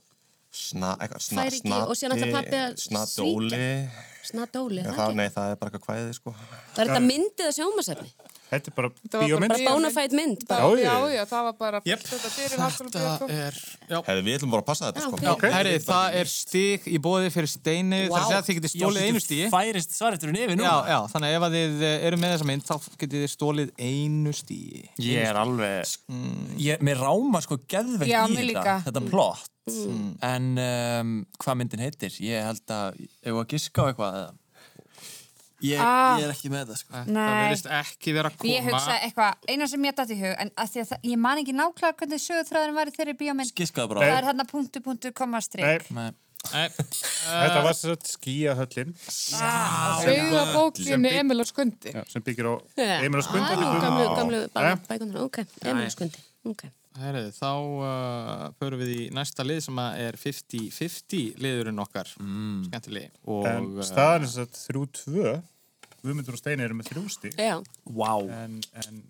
Speaker 7: Sna, eitthvað, sna,
Speaker 6: Fær ekki- og síðan ætlar pabbi að
Speaker 7: snadóli
Speaker 6: snadóli,
Speaker 7: Já,
Speaker 6: það
Speaker 7: það,
Speaker 6: ekki?
Speaker 7: nei, það er bara eitthvað kvæðið sko
Speaker 6: Var þetta myndið að sjómasefni?
Speaker 2: Þetta er bara
Speaker 3: Þetta var
Speaker 2: bíómynd.
Speaker 6: Bara bónafætt mynd, bara.
Speaker 3: Bara,
Speaker 2: Já,
Speaker 3: já,
Speaker 2: ég-
Speaker 3: já, það var bara
Speaker 1: Jep.
Speaker 3: þetta fyrir háskóla
Speaker 1: Þetta
Speaker 3: bíó.
Speaker 1: er, já.
Speaker 7: Herri, við ætlum bara að passa þetta sko.
Speaker 6: Já, ok.
Speaker 1: Herri, það er stig í bóði fyrir steini wow. þar sem þið getið stólið einu stigi
Speaker 4: Færist svareturinn yfir
Speaker 1: já,
Speaker 4: núna.
Speaker 1: já, þannig að ef að þið eh, eru með þessa mynd þá getið þið stólið einu Mm. stigi
Speaker 2: Ég er alveg...
Speaker 4: ég, mér ráma sko Mm. geðveikt
Speaker 5: Já,
Speaker 4: í
Speaker 5: mér
Speaker 4: þetta,
Speaker 5: líka.
Speaker 4: þetta plott
Speaker 1: Mm.
Speaker 4: en um, hvað myndin heitir ég held að, ef að giska á eitthvað eða? ég,
Speaker 5: Ah.
Speaker 4: ég er ekki með það sko.
Speaker 1: það
Speaker 5: Nei.
Speaker 1: verðist ekki vera að koma
Speaker 5: Ég hugsa eitthvað, eina sem ég datt í hug en að því að það, ég man ekki nákvæmlega hvernig sögutræðurinn var í þeirri bíómynd
Speaker 4: giskaðu bara
Speaker 5: það er þarna punktu, punktu, koma,
Speaker 2: Nei,
Speaker 5: strik
Speaker 4: Nei.
Speaker 1: Nei,
Speaker 2: [laughs] þetta var svo skíahöllin
Speaker 5: Ah,
Speaker 3: Sögða bókinni
Speaker 2: bíó-
Speaker 3: Emil og Skundi.
Speaker 2: sem byggir á
Speaker 6: Já.
Speaker 2: Emil og
Speaker 1: Ah,
Speaker 2: Skund.
Speaker 6: Æ,
Speaker 5: Ah.
Speaker 6: Gamlu, gamlu, bara
Speaker 2: Jæja.
Speaker 6: bækunar, ok, emil skundi, ok.
Speaker 1: Herri, þá uh, förum við í næsta lið sem að er 50-50 liðurinn okkar mm. skemmtilegi og
Speaker 2: En
Speaker 1: eh,
Speaker 2: staðan er svo þrjú tvö. Guðmundur og Steini eru með þrjú stík.
Speaker 6: Já,
Speaker 4: wow.
Speaker 2: En, en,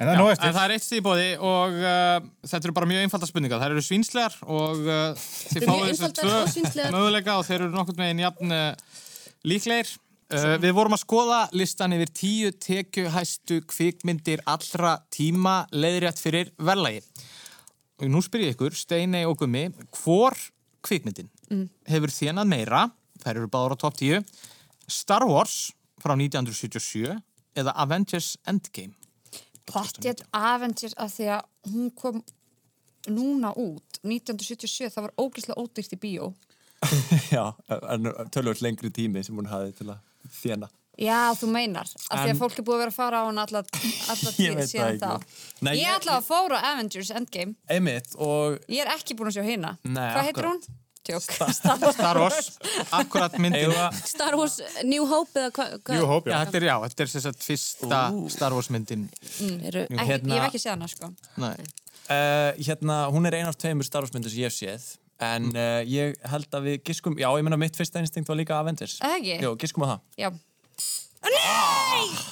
Speaker 2: en það er
Speaker 1: já,
Speaker 2: nóg
Speaker 1: en
Speaker 2: eftir.
Speaker 1: það er eitt stíð í bóði og uh, þetta eru bara mjög einfalda spurningar þær eru svínslegar og uh, þið
Speaker 6: Mjög
Speaker 1: fáið þessu
Speaker 6: einfaldar og
Speaker 1: tvö
Speaker 6: svínslegar.
Speaker 1: möguleika og þeir eru nokkurn veginn jafn uh, líklegir uh, við vorum að skoða listan yfir tíu tekjuhæstu kvikmyndir allra tíma leiðrétt fyrir verðlagi og nú spyr ég ykkur, Steinei og Gummi hvor kvikmyndin hefur þénað meira, þær eru báður á topp 10 Star Wars frá 1977 eða Avengers Endgame
Speaker 5: Pottjett Avengers af því að hún kom núna út 1977, það var ógeðslega ódýrt í bíó
Speaker 4: já, en tölvöld lengri tími sem hún hafi til að þjena
Speaker 5: Já, þú meinar, af því að fólk er búið að vera að fara á hún alla, alla
Speaker 4: [laughs] Ég
Speaker 5: tíð
Speaker 4: veit
Speaker 5: síðan
Speaker 4: það
Speaker 5: þá
Speaker 4: ekki. Nei,
Speaker 5: Ég
Speaker 4: ég-
Speaker 5: ætla að fóra Avengers Endgame
Speaker 4: einmitt og
Speaker 5: Ég er ekki búin að sjá hérna
Speaker 4: Nei,
Speaker 5: Hvað heitir hún?
Speaker 4: akkurat.
Speaker 5: Tjók Star Wars
Speaker 1: Star Wars, akkurat myndin
Speaker 4: Eiga-
Speaker 6: Star Wars eh, New Hope eða hvað? Hva,
Speaker 2: Jú, hóp,
Speaker 1: Já,
Speaker 2: já.
Speaker 1: þetta er já, þetta er sem sagt fyrsta Star Wars myndin
Speaker 6: Eru,
Speaker 5: Ekki-
Speaker 4: Hérna-
Speaker 5: Ég hef ekki séð hana sko
Speaker 1: Nei.
Speaker 4: Uh, hérna, hún er ein af tveimur starfsmyndir sem ég hef séð en uh, ég held að við giskum já, ég meina mitt fyrsta instinkt var líka Avengers
Speaker 5: Það ekki?
Speaker 4: Jó, giskum á það
Speaker 5: Já,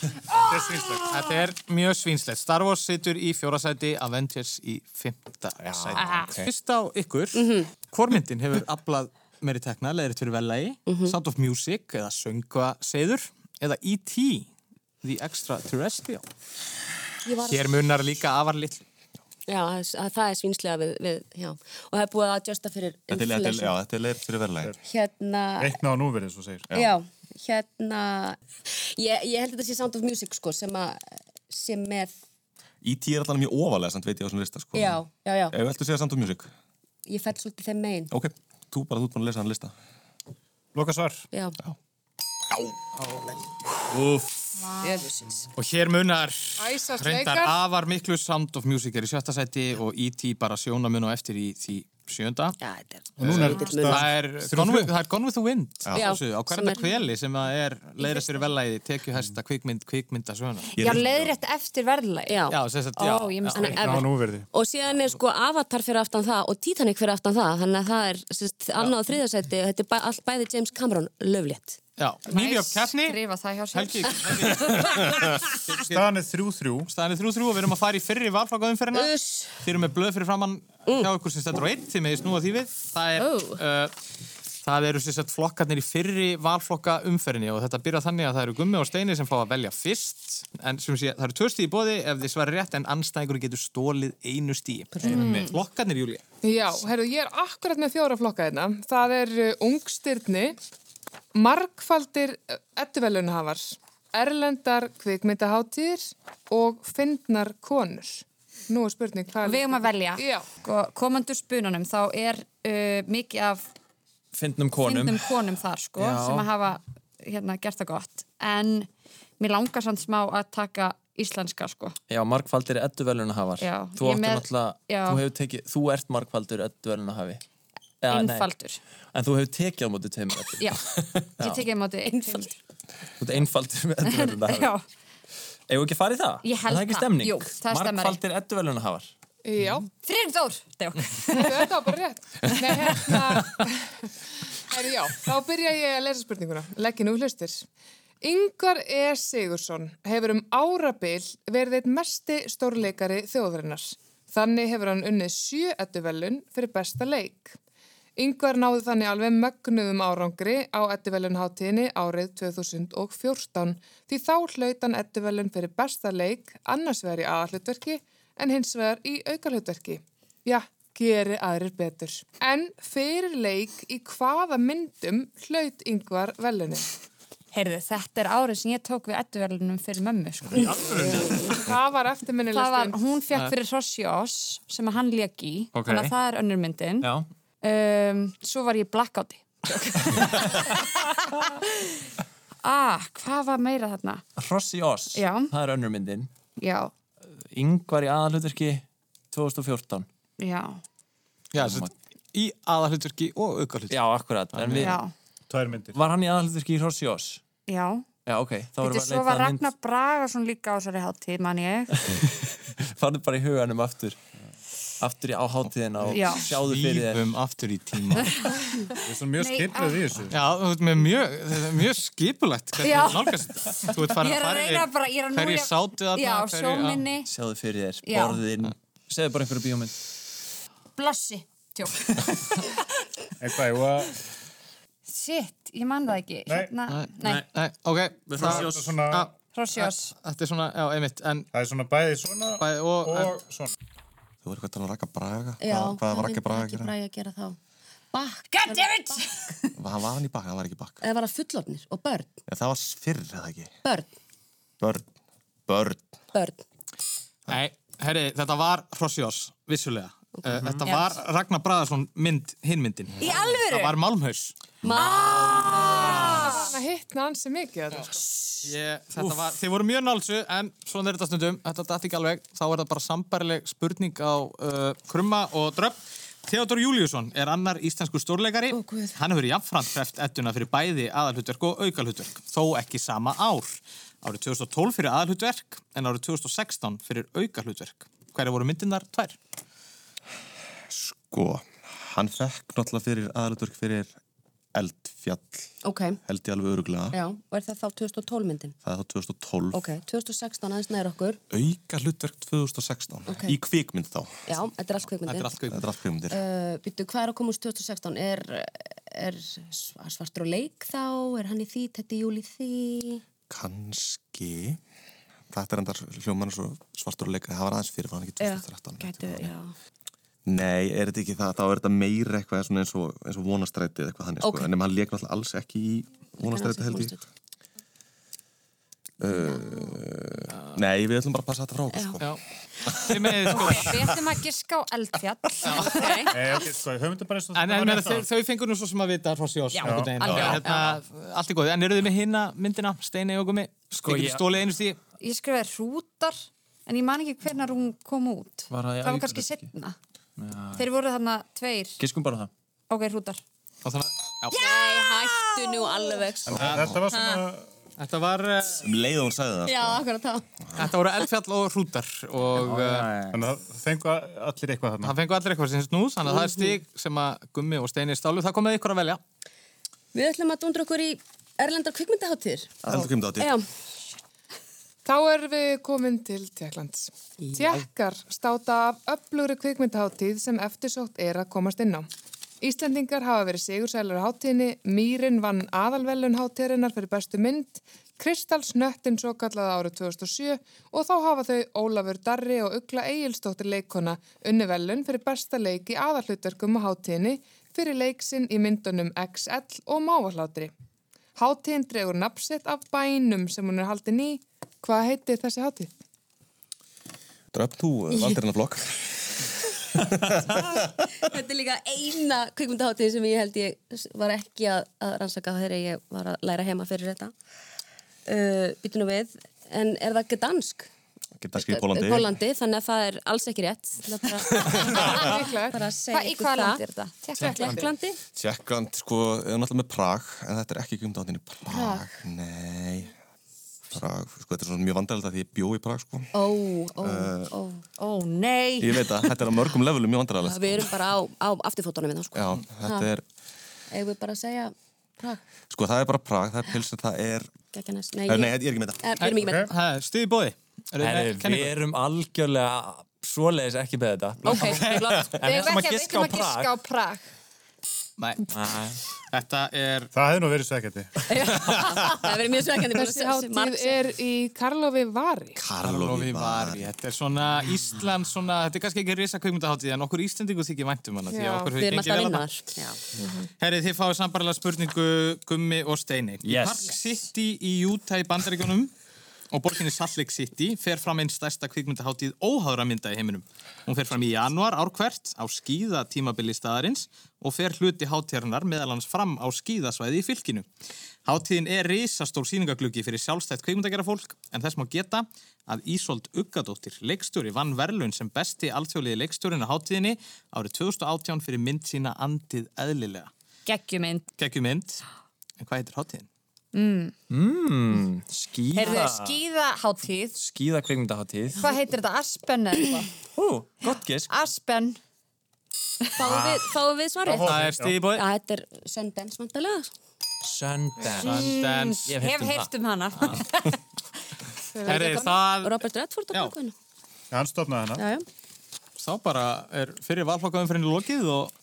Speaker 2: Þetta er sínslegt.
Speaker 1: Þetta er mjög svínslegt Star Wars situr í fjóra sæti, Avengers í fymta sæti Fyrst á ykkur, mm myndin hefur aflað meiri tekna, leðrið fyrir velagi Sound of Music eða Söngva Seður eða E.T. The Extraterrestrial
Speaker 6: Ég var,
Speaker 1: Hér munar líka afar litlu
Speaker 6: já, það er- að það er svínslega við, við, já. Og það er búið að adjusta fyrir
Speaker 7: Þetta er- þetta er- Já,
Speaker 6: inflation.
Speaker 7: þetta er leir fyrir verðlægir.
Speaker 6: Hérna,
Speaker 2: Reikna á núverið, svo segir.
Speaker 6: já, hérna, ég, ég held að þetta sé Sound of Music, sko, sem að, sem með,
Speaker 7: E.T. E er allan mjög ofalega, samt veit ég á svona lista sko.
Speaker 6: já, já, já,
Speaker 7: Ef við ættum að segja samt um music.
Speaker 6: ég fell svolítið þeim megin,
Speaker 7: Ok, þú bara, þú ert búin að lesa hann lista.
Speaker 2: Loka svar.
Speaker 6: já.
Speaker 1: Og hér munar
Speaker 3: Æsast
Speaker 1: reyndar
Speaker 3: leikar.
Speaker 1: afar miklu Sound of Music er í sjötta sæti og E.T. bara sjóna mun og eftir í því sjönda
Speaker 6: Já, þetta er,
Speaker 2: Og núna er
Speaker 1: Það er, gone with, það er Gone with the Wind
Speaker 6: Já.
Speaker 1: þessu, á
Speaker 6: Sem
Speaker 1: hverjum
Speaker 6: er-
Speaker 1: kveli sem það er leiðist fyrir velæði, tekju hæsta kvikmynd, kvikmynda svona
Speaker 5: já leiðrétt eftir verðlæg
Speaker 6: já.
Speaker 1: Já, sem sagt,
Speaker 5: Ó,
Speaker 1: já,
Speaker 5: ég missti
Speaker 1: já.
Speaker 5: það.
Speaker 2: Reikna á núverið.
Speaker 6: Og síðan er sko Avatar fyrir aftan það og Titanic fyrir aftan það, þannig að það er sérst, annað og þriðarsæti og þetta er bæ, allt bæði James Cameron löflétt.
Speaker 1: já. Nýfjöf keppni,
Speaker 5: Skrifa það hjá sér
Speaker 1: Helgi
Speaker 2: [laughs] Staðan er þrjú þrjú.
Speaker 1: staðan er 3-3 og við erum að fara í fyrri valflokkaðum fyrir hana
Speaker 6: Uss.
Speaker 1: Þið eru með blöð fyrir framann
Speaker 5: Mm.
Speaker 1: hjá ykkur sem stendur á einn, þið meðist nú að því við Það
Speaker 5: Oh.
Speaker 1: er...
Speaker 6: Ó.
Speaker 1: Uh, Það eru sem sagt flokkarnir í fyrri valflokka umferðinni og þetta byrjar þannig að það eru gummi og steini sem fá að velja fyrst en sem sé, það eru tvö stíð í bóði ef þið svarar rétt en anstæðingur getur stólið einu stíð. Mm. Flokkarnir, Júlia.
Speaker 3: Já, heyrðu, ég er akkurat með fjóra flokka hérna. Það er uh, ungstyrni, margfaldir ettuvelunahafar, erlendar kvikmyndaháttir og fyndnar konur. Nú er spurning hvað...
Speaker 5: Við erum að velja
Speaker 3: Já.
Speaker 5: Sko, Komandur spununum, þá er uh, mikið af
Speaker 4: Fyndnum konum
Speaker 5: finnum konum þar sko, sem að hafa hérna, gert það gott en mér langar samt smá að taka íslenska sko
Speaker 4: Já, margfaldir eddu velunahafar
Speaker 5: Já,
Speaker 4: Þú,
Speaker 5: ég
Speaker 4: áttu
Speaker 5: með-
Speaker 4: náttúrulega-
Speaker 5: já.
Speaker 4: þú, hefur tekið, þú ert margfaldur eddu velunahafi Eða, nei,
Speaker 5: einfaldur
Speaker 4: En þú hefur tekið á móti tveimur eddu
Speaker 5: já, ég tekið um á þetta einfaldur
Speaker 4: Þú ert einfaldur með eddu
Speaker 5: já,
Speaker 4: velunahafi Eigum við ekki að fara í það?
Speaker 5: Ég held
Speaker 4: Er það ekki
Speaker 5: það.
Speaker 4: stemning?
Speaker 5: Jú, það er stemmari.
Speaker 4: margfaldir eddu velunahafar
Speaker 3: Já,
Speaker 5: þrjum þór Djók.
Speaker 3: þetta var bara rétt. Nei, hérna... Heyrðu, já, þá byrja ég að lesa spurninguna. Leggin úr hlustir. Yngvar E. Sigursson hefur um árabil verið eitt mesti stórleikari þjóðarinnar. Þannig hefur hann unnið sjö ettuvelun fyrir besta leik. Yngvar náði þannig alveg mögnuðum árangri á Eddivelunháttíðinni árið 2014 því þá hlaut hann Eddivelun fyrir besta leik annars vegar í aðallutverki en hins vegar í aukalutverki. Já, geri aðrir betur. En fyrir leik í hvaða myndum hlaut Yngvar velunin?
Speaker 5: Heyrðu, þetta er árið sem ég tók við edduverlunum fyrir mömmu, sko.
Speaker 3: Það var eftirminnilegst.
Speaker 5: Það var, hún fekk fyrir Rossiós sem að hann lék í,
Speaker 4: Ok.
Speaker 5: þannig að það er önnur myndin.
Speaker 4: Já,
Speaker 5: Um, svo var ég blackouti. ah, hvað var meira þarna?
Speaker 4: Rossi Oss,
Speaker 5: Já.
Speaker 4: það er önnur myndin
Speaker 5: Já,
Speaker 4: Yngvar í aðalhutverki 2014
Speaker 5: já,
Speaker 1: Já, sem sagt, í aðalhutverki og aukarhutverki.
Speaker 4: Já, akkurat, en við,
Speaker 5: já,
Speaker 2: Tvær myndir.
Speaker 4: var hann í aðalhutverki í Rossi Oss?
Speaker 5: já.
Speaker 4: Já, ok, þá erum
Speaker 5: Þetta
Speaker 4: við
Speaker 5: svo
Speaker 4: að
Speaker 5: var
Speaker 4: leita að mynd
Speaker 5: Ragnar Bragason líka á þessari hátíð, man ég.
Speaker 4: [laughs] Farðu bara í huganum aftur Aftur í áháttíðina og
Speaker 5: Já.
Speaker 4: sjáðu fyrir þér
Speaker 1: Svífum aftur í
Speaker 5: [laughs]
Speaker 1: tíma.
Speaker 2: Það er svona mjög skipluð í þessu.
Speaker 1: Já, þú veit með mjög, þetta er mjög skipulegt hvernig
Speaker 5: Já.
Speaker 1: þú nálgast þetta. Þú veit
Speaker 5: Ég
Speaker 1: farin að
Speaker 5: er að
Speaker 1: fara
Speaker 5: reyna bara, ég er að núja.
Speaker 1: hverjir sátu þarna,
Speaker 5: Já,
Speaker 1: hverjir- já.
Speaker 5: sjóminni,
Speaker 4: Sjáðu fyrir þér,
Speaker 5: Já.
Speaker 4: borðin Segðu bara einhverju bíómynd
Speaker 5: blossi. Tjók.
Speaker 2: Eitthvað, ég var
Speaker 5: Shit, ég man það ekki.
Speaker 2: Nei.
Speaker 5: Hérna, nei,
Speaker 1: Nei, nei, ok.
Speaker 2: það er svona,
Speaker 1: Já,
Speaker 5: Rossiós.
Speaker 1: Þetta er svona, já, einmitt, en
Speaker 2: það er svona bæði svona
Speaker 1: bæði og...
Speaker 2: og svona.
Speaker 7: Þú verður eitthvað að raka braga.
Speaker 6: Já,
Speaker 7: Hvað- Hvað var
Speaker 6: myndi
Speaker 7: ekki braga að
Speaker 6: Raggi
Speaker 7: gera?
Speaker 6: Bragi að gera þá? Bakk,
Speaker 5: God damn it!
Speaker 7: Hann var hann í bakk, hann var ekki í bakk.
Speaker 6: eða var það fullofnir og börn,
Speaker 7: En það var fyrr, eða ekki?
Speaker 6: börn,
Speaker 7: Börn. Börn.
Speaker 6: börn.
Speaker 1: Nei, herri, þetta var Hrossjós, vissulega. Okay. Þetta var Ragnar Bræðarsson mynd, hinmyndin.
Speaker 5: Í alvöru?
Speaker 1: Það var Malmhaus.
Speaker 3: Þannig að hittna ansi mikið þetta sko.
Speaker 1: Ég, þetta var, þið voru mjög nálsu, en svona er þetta stundum, þetta datt ekki alveg, þá er það bara sambarileg spurning á uh, krumma og dröpp. Theodor Júliusson er annar íslensku stórleikari. Ó, Hann hefur jafnframt hreft ettuna fyrir bæði aðalhutverk og aukalhutverk, þó ekki sama ár. Árið 2012 fyrir aðalhutverk, en árið 2016 fyrir aukalhutverk. Hverja voru myndirnar tvær?
Speaker 7: Sko, hann fekk náttúrulega fyrir aðalutverk fyrir eldfjall,
Speaker 6: Ok,
Speaker 7: held ég alveg öruglega.
Speaker 6: já, og er það þá 2012 myndin?
Speaker 7: Það er þá 2012.
Speaker 6: Ok, 2016 aðeins nær okkur.
Speaker 7: Auka hlutverk 2016.
Speaker 6: Ok.
Speaker 7: Í kvikmynd þá.
Speaker 6: Já, þetta
Speaker 1: Þetta
Speaker 6: er allt
Speaker 1: er
Speaker 6: kveikmyndir.
Speaker 1: allt kveikmynd.
Speaker 7: Þetta er allt kvikmyndir.
Speaker 6: Uh, Býttu, hvað er að koma úr 2016? Er, er svar- svartur og leik þá? Er hann í því? Þetta er júli því?
Speaker 7: Kanski... Þetta er endar hljóman svo svartur og leikari. Það var aðeins fyrir, var hann ekki 2013?
Speaker 6: Gætu, já.
Speaker 7: Nei, er þetta ekki það? Þá er þetta meira eitthvað svona eins og, eins og vonastrætið eða eitthvað þannig.
Speaker 6: Ok.
Speaker 7: Sko. En nema hann lék náttúrulega alls ekki í vonastrætið held ég. Eh, Nei, við ætlum bara að passa þetta frá okkur, sko.
Speaker 1: Já. Þið með, sko,
Speaker 5: Við ætlum að giska á eldfjall.
Speaker 2: Nei, ok, sko, höfundum bara eins og
Speaker 1: en,
Speaker 2: þetta
Speaker 1: en
Speaker 2: var
Speaker 1: meina,
Speaker 2: rétt
Speaker 1: þau,
Speaker 2: áðan.
Speaker 1: þau fengur nú svo sem að vita Hrossjós. Já, já,
Speaker 6: alveg, já.
Speaker 1: Hérna, allt í góði. En eru þið með hinna myndina, Steini og Gumi? Sko,
Speaker 4: ég-
Speaker 1: Stólið einu stíð?
Speaker 5: Ég skrifaði hrútar, en ég man ekki hvernar hún kom út.
Speaker 4: Var það í
Speaker 5: var kannski
Speaker 4: aukahlutverki?
Speaker 5: setna. Þeir voru þarna tveir.
Speaker 4: Giskum bara um það
Speaker 5: Ok, hrútar.
Speaker 1: Og þannig að, já,
Speaker 6: Nei, hættu nú alveg. sko.
Speaker 2: Þetta var svona,
Speaker 1: þetta var, uh,
Speaker 7: Um leið og hún sagði það. sko.
Speaker 6: Já, akkurat þá.
Speaker 1: þetta voru eldfjall og hrútar og uh,
Speaker 2: þannig að það fengu allir eitthvað þarna.
Speaker 1: það fengur allir eitthvað sem snúð, þannig að það er stíg sem að Gummi og Steini stálu, það komið ykkur að velja.
Speaker 6: Við ætlum að dundra okkur í erlendar kvikmyndaháttir.
Speaker 7: Eldur kemur þetta á
Speaker 6: Já,
Speaker 3: Þá erum við komin til Tjekklands. Tjekkar státa af öflugri kvikmyndaháttíð sem eftirsótt er að komast inn á. Íslendingar hafa verið sigursælur á háttíðinni, Mýrin vann aðalvelun háttíðarinnar fyrir bestu mynd, Kristals nöttin svo kallaða árið 2007 og þá hafa þau Ólafur Darri og Ugla Egilstóttir leikona unni velun fyrir besta leik í aðalhlutverkum á háttíðinni fyrir leiksinn í myndunum XL og Mávahlátri. Hátíðin dregur nafnsitt af bænum sem hún er haldin í. Hvað heitir þessi hátíð?
Speaker 7: Dröfn, þú uh, valdir hennar flokk.
Speaker 6: þetta er líka eina kvikmyndaháttin sem ég held ég var ekki að, að rannsaka þegar ég var að læra heima fyrir þetta. Uh, Býtu nú við, en er það ekki dansk?
Speaker 7: Geta skil í Pólandi.
Speaker 6: Pólandi, þannig að það er alls ekki rétt. Það er [laughs] bara,
Speaker 3: Líklegt.
Speaker 6: bara að segja
Speaker 5: Hvað, í
Speaker 6: ykkur
Speaker 5: hvaða
Speaker 6: það.
Speaker 5: land er þetta?
Speaker 3: Tékklandi.
Speaker 6: Tékklandi.
Speaker 7: Tjekkland, sko, er náttúrulega með Prag, en þetta er ekki kemur þetta á Prag. Nei. Prag, sko, þetta er svona mjög vandarilegt að því ég bjó í Prag, sko. Eh,
Speaker 6: Ó, ó, ó.
Speaker 5: Ó, nei.
Speaker 7: Ég veit að þetta er á mörgum levelum mjög vandarilegt.
Speaker 6: Við erum bara á, á afturfótunum við þá sko.
Speaker 7: Já, þetta er,
Speaker 6: Eða við bara að segja Prag,
Speaker 7: sko, það er bara Prag, það er pilsið, það er...
Speaker 6: Gekjanæs.
Speaker 7: Nei, ég er ekki með þetta.
Speaker 6: Eh, Við
Speaker 7: [laughs]
Speaker 6: erum ekki með
Speaker 1: Það er stíð í bóði. Eru þið
Speaker 4: Herri,
Speaker 1: með
Speaker 4: Við
Speaker 1: kenningu?
Speaker 4: erum algjörlega svoleiðis ekki með þetta [laughs]
Speaker 6: Ok, flott.
Speaker 4: En við ætlum að
Speaker 5: ekki-
Speaker 4: giska á
Speaker 5: ætlum að
Speaker 4: Prag
Speaker 5: giska á Prag.
Speaker 1: Nei. Þetta er...
Speaker 2: Það hefði nú verið svekkjandi.
Speaker 6: Það verið mjög svekkjandi bara að
Speaker 3: Þessi
Speaker 6: sjá- sjá
Speaker 3: hátíð
Speaker 6: margt sem-
Speaker 3: er í Karlofi Vari.
Speaker 1: Karlofi Vari. Þetta er svona Ísland, svona, þetta er kannski ekki risa kvikmyndaháttíð en okkur Íslendingur þykir væntum hana því
Speaker 3: Já.
Speaker 1: að okkur
Speaker 6: Við
Speaker 1: hefur
Speaker 6: erum
Speaker 1: gengið
Speaker 6: alltaf
Speaker 1: vel hana.
Speaker 6: vinnar.
Speaker 1: Herri, þið fáið sambarlega spurningu Gummi og Steini. Í
Speaker 4: Yes.
Speaker 1: Park City í Utah í bandaríkjónum og borginni Salt Lake City fer fram einn stærsta kvikmyndaháttíð óháðra mynda í heiminum. Hún fer fram í januar árkvert á skíða tímabili staðarins og fer hluti hátíðarnar meðal hans fram á skíðasvæði í fylkinu. Hátíðin er risastór síningagluggi fyrir sjálfstætt kvikmyndagerafólk en þess má geta að Ísolt Uggadóttir, leikstjóri, vann verðlun sem besti alþjóðliði leikstjórin á hátíðinni árið 2018 fyrir mynd sína Andið eðlilega.
Speaker 5: Gekkjumind.
Speaker 1: Gekkjumynd. En hvað heitir hátíðin?
Speaker 5: Mm.
Speaker 4: Mm,
Speaker 5: Heyrðu,
Speaker 4: skíða
Speaker 5: skíðaháttíð.
Speaker 4: Skíða kvikmyndaháttíð
Speaker 5: Hvað heitir þetta? Aspen eða eitthvað?
Speaker 4: Ú, gott gisk
Speaker 5: Aspen.
Speaker 6: Fáum við- Fáum við svarið?
Speaker 1: Það er stig í boði.
Speaker 6: Já, Þetta er Sundance vantalega.
Speaker 4: Sundance
Speaker 1: Sundance.
Speaker 4: Ég hef heyrt
Speaker 5: um
Speaker 6: [laughs]
Speaker 5: hana.
Speaker 1: Herri, það...
Speaker 6: Robert Redford á bókvinu.
Speaker 2: Hann stopnaði hana.
Speaker 6: Já, já.
Speaker 1: Þá bara er fyrir valflokkaumfyrinni lokið og...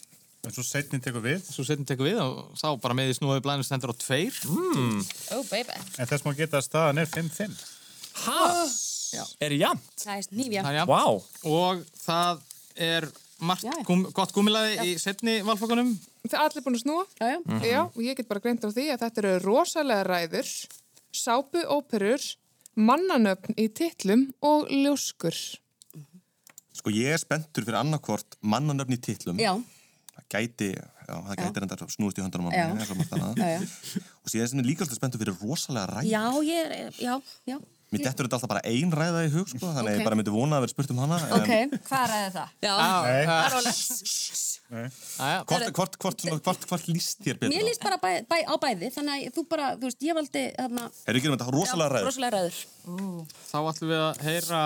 Speaker 2: En svo setnin tekur við.
Speaker 1: Svo setjum tekur við og þá bara með í snúið blæðinu stendur á tveir.
Speaker 2: Mm.
Speaker 6: Oh, baby.
Speaker 2: En þess má geta að staðan er 5-5.
Speaker 4: Hæ? Er jafn?
Speaker 6: Það er nýfja.
Speaker 1: Það er jafnt.
Speaker 4: Vá.
Speaker 1: Og það er margt gum, gott gúmilaði í setni valflokkunum.
Speaker 3: Það er allir búin að snúa.
Speaker 6: Já, já.
Speaker 1: Mhm.
Speaker 3: Já, og ég get bara greint á því að þetta eru rosalega ræður, sápuóperur, mannanöfn í titlum og ljóskur.
Speaker 7: Sko ég er spenntur fyrir annarkvort mannanöfni í titlum.
Speaker 6: Já.
Speaker 7: Það gæti, já, það gæti reyndar snúist í höndunum á
Speaker 6: Já.
Speaker 7: mér, eins og margt annað.
Speaker 6: [laughs] Já, já.
Speaker 7: Og síðan sem ég líka alltaf spenntur fyrir rosalega ræð.
Speaker 6: Já, ég er, já, já.
Speaker 7: Mér dettur þetta alltaf bara ein ræða í hug, sko, þannig að
Speaker 6: Ok. Ah,
Speaker 7: ég bara myndi vona að vera spurt um hana. en-
Speaker 5: Hvað ræði það?
Speaker 6: Já.
Speaker 7: Nei.
Speaker 6: Það er rólega.
Speaker 7: Nei.
Speaker 1: Ah,
Speaker 6: Herra-
Speaker 7: Hvort, hvort, hvort, svona, hvort, hvort líst þér betur?
Speaker 6: Mér líst bara bæ, bæ, á bæði, þannig að þú bara, þú veist, ég valdi þarna...
Speaker 7: Herru, gerum þetta rosalega
Speaker 6: Já,
Speaker 7: ræður.
Speaker 6: Rosalega ræður. Mm.
Speaker 1: Þá ætlum við að heyra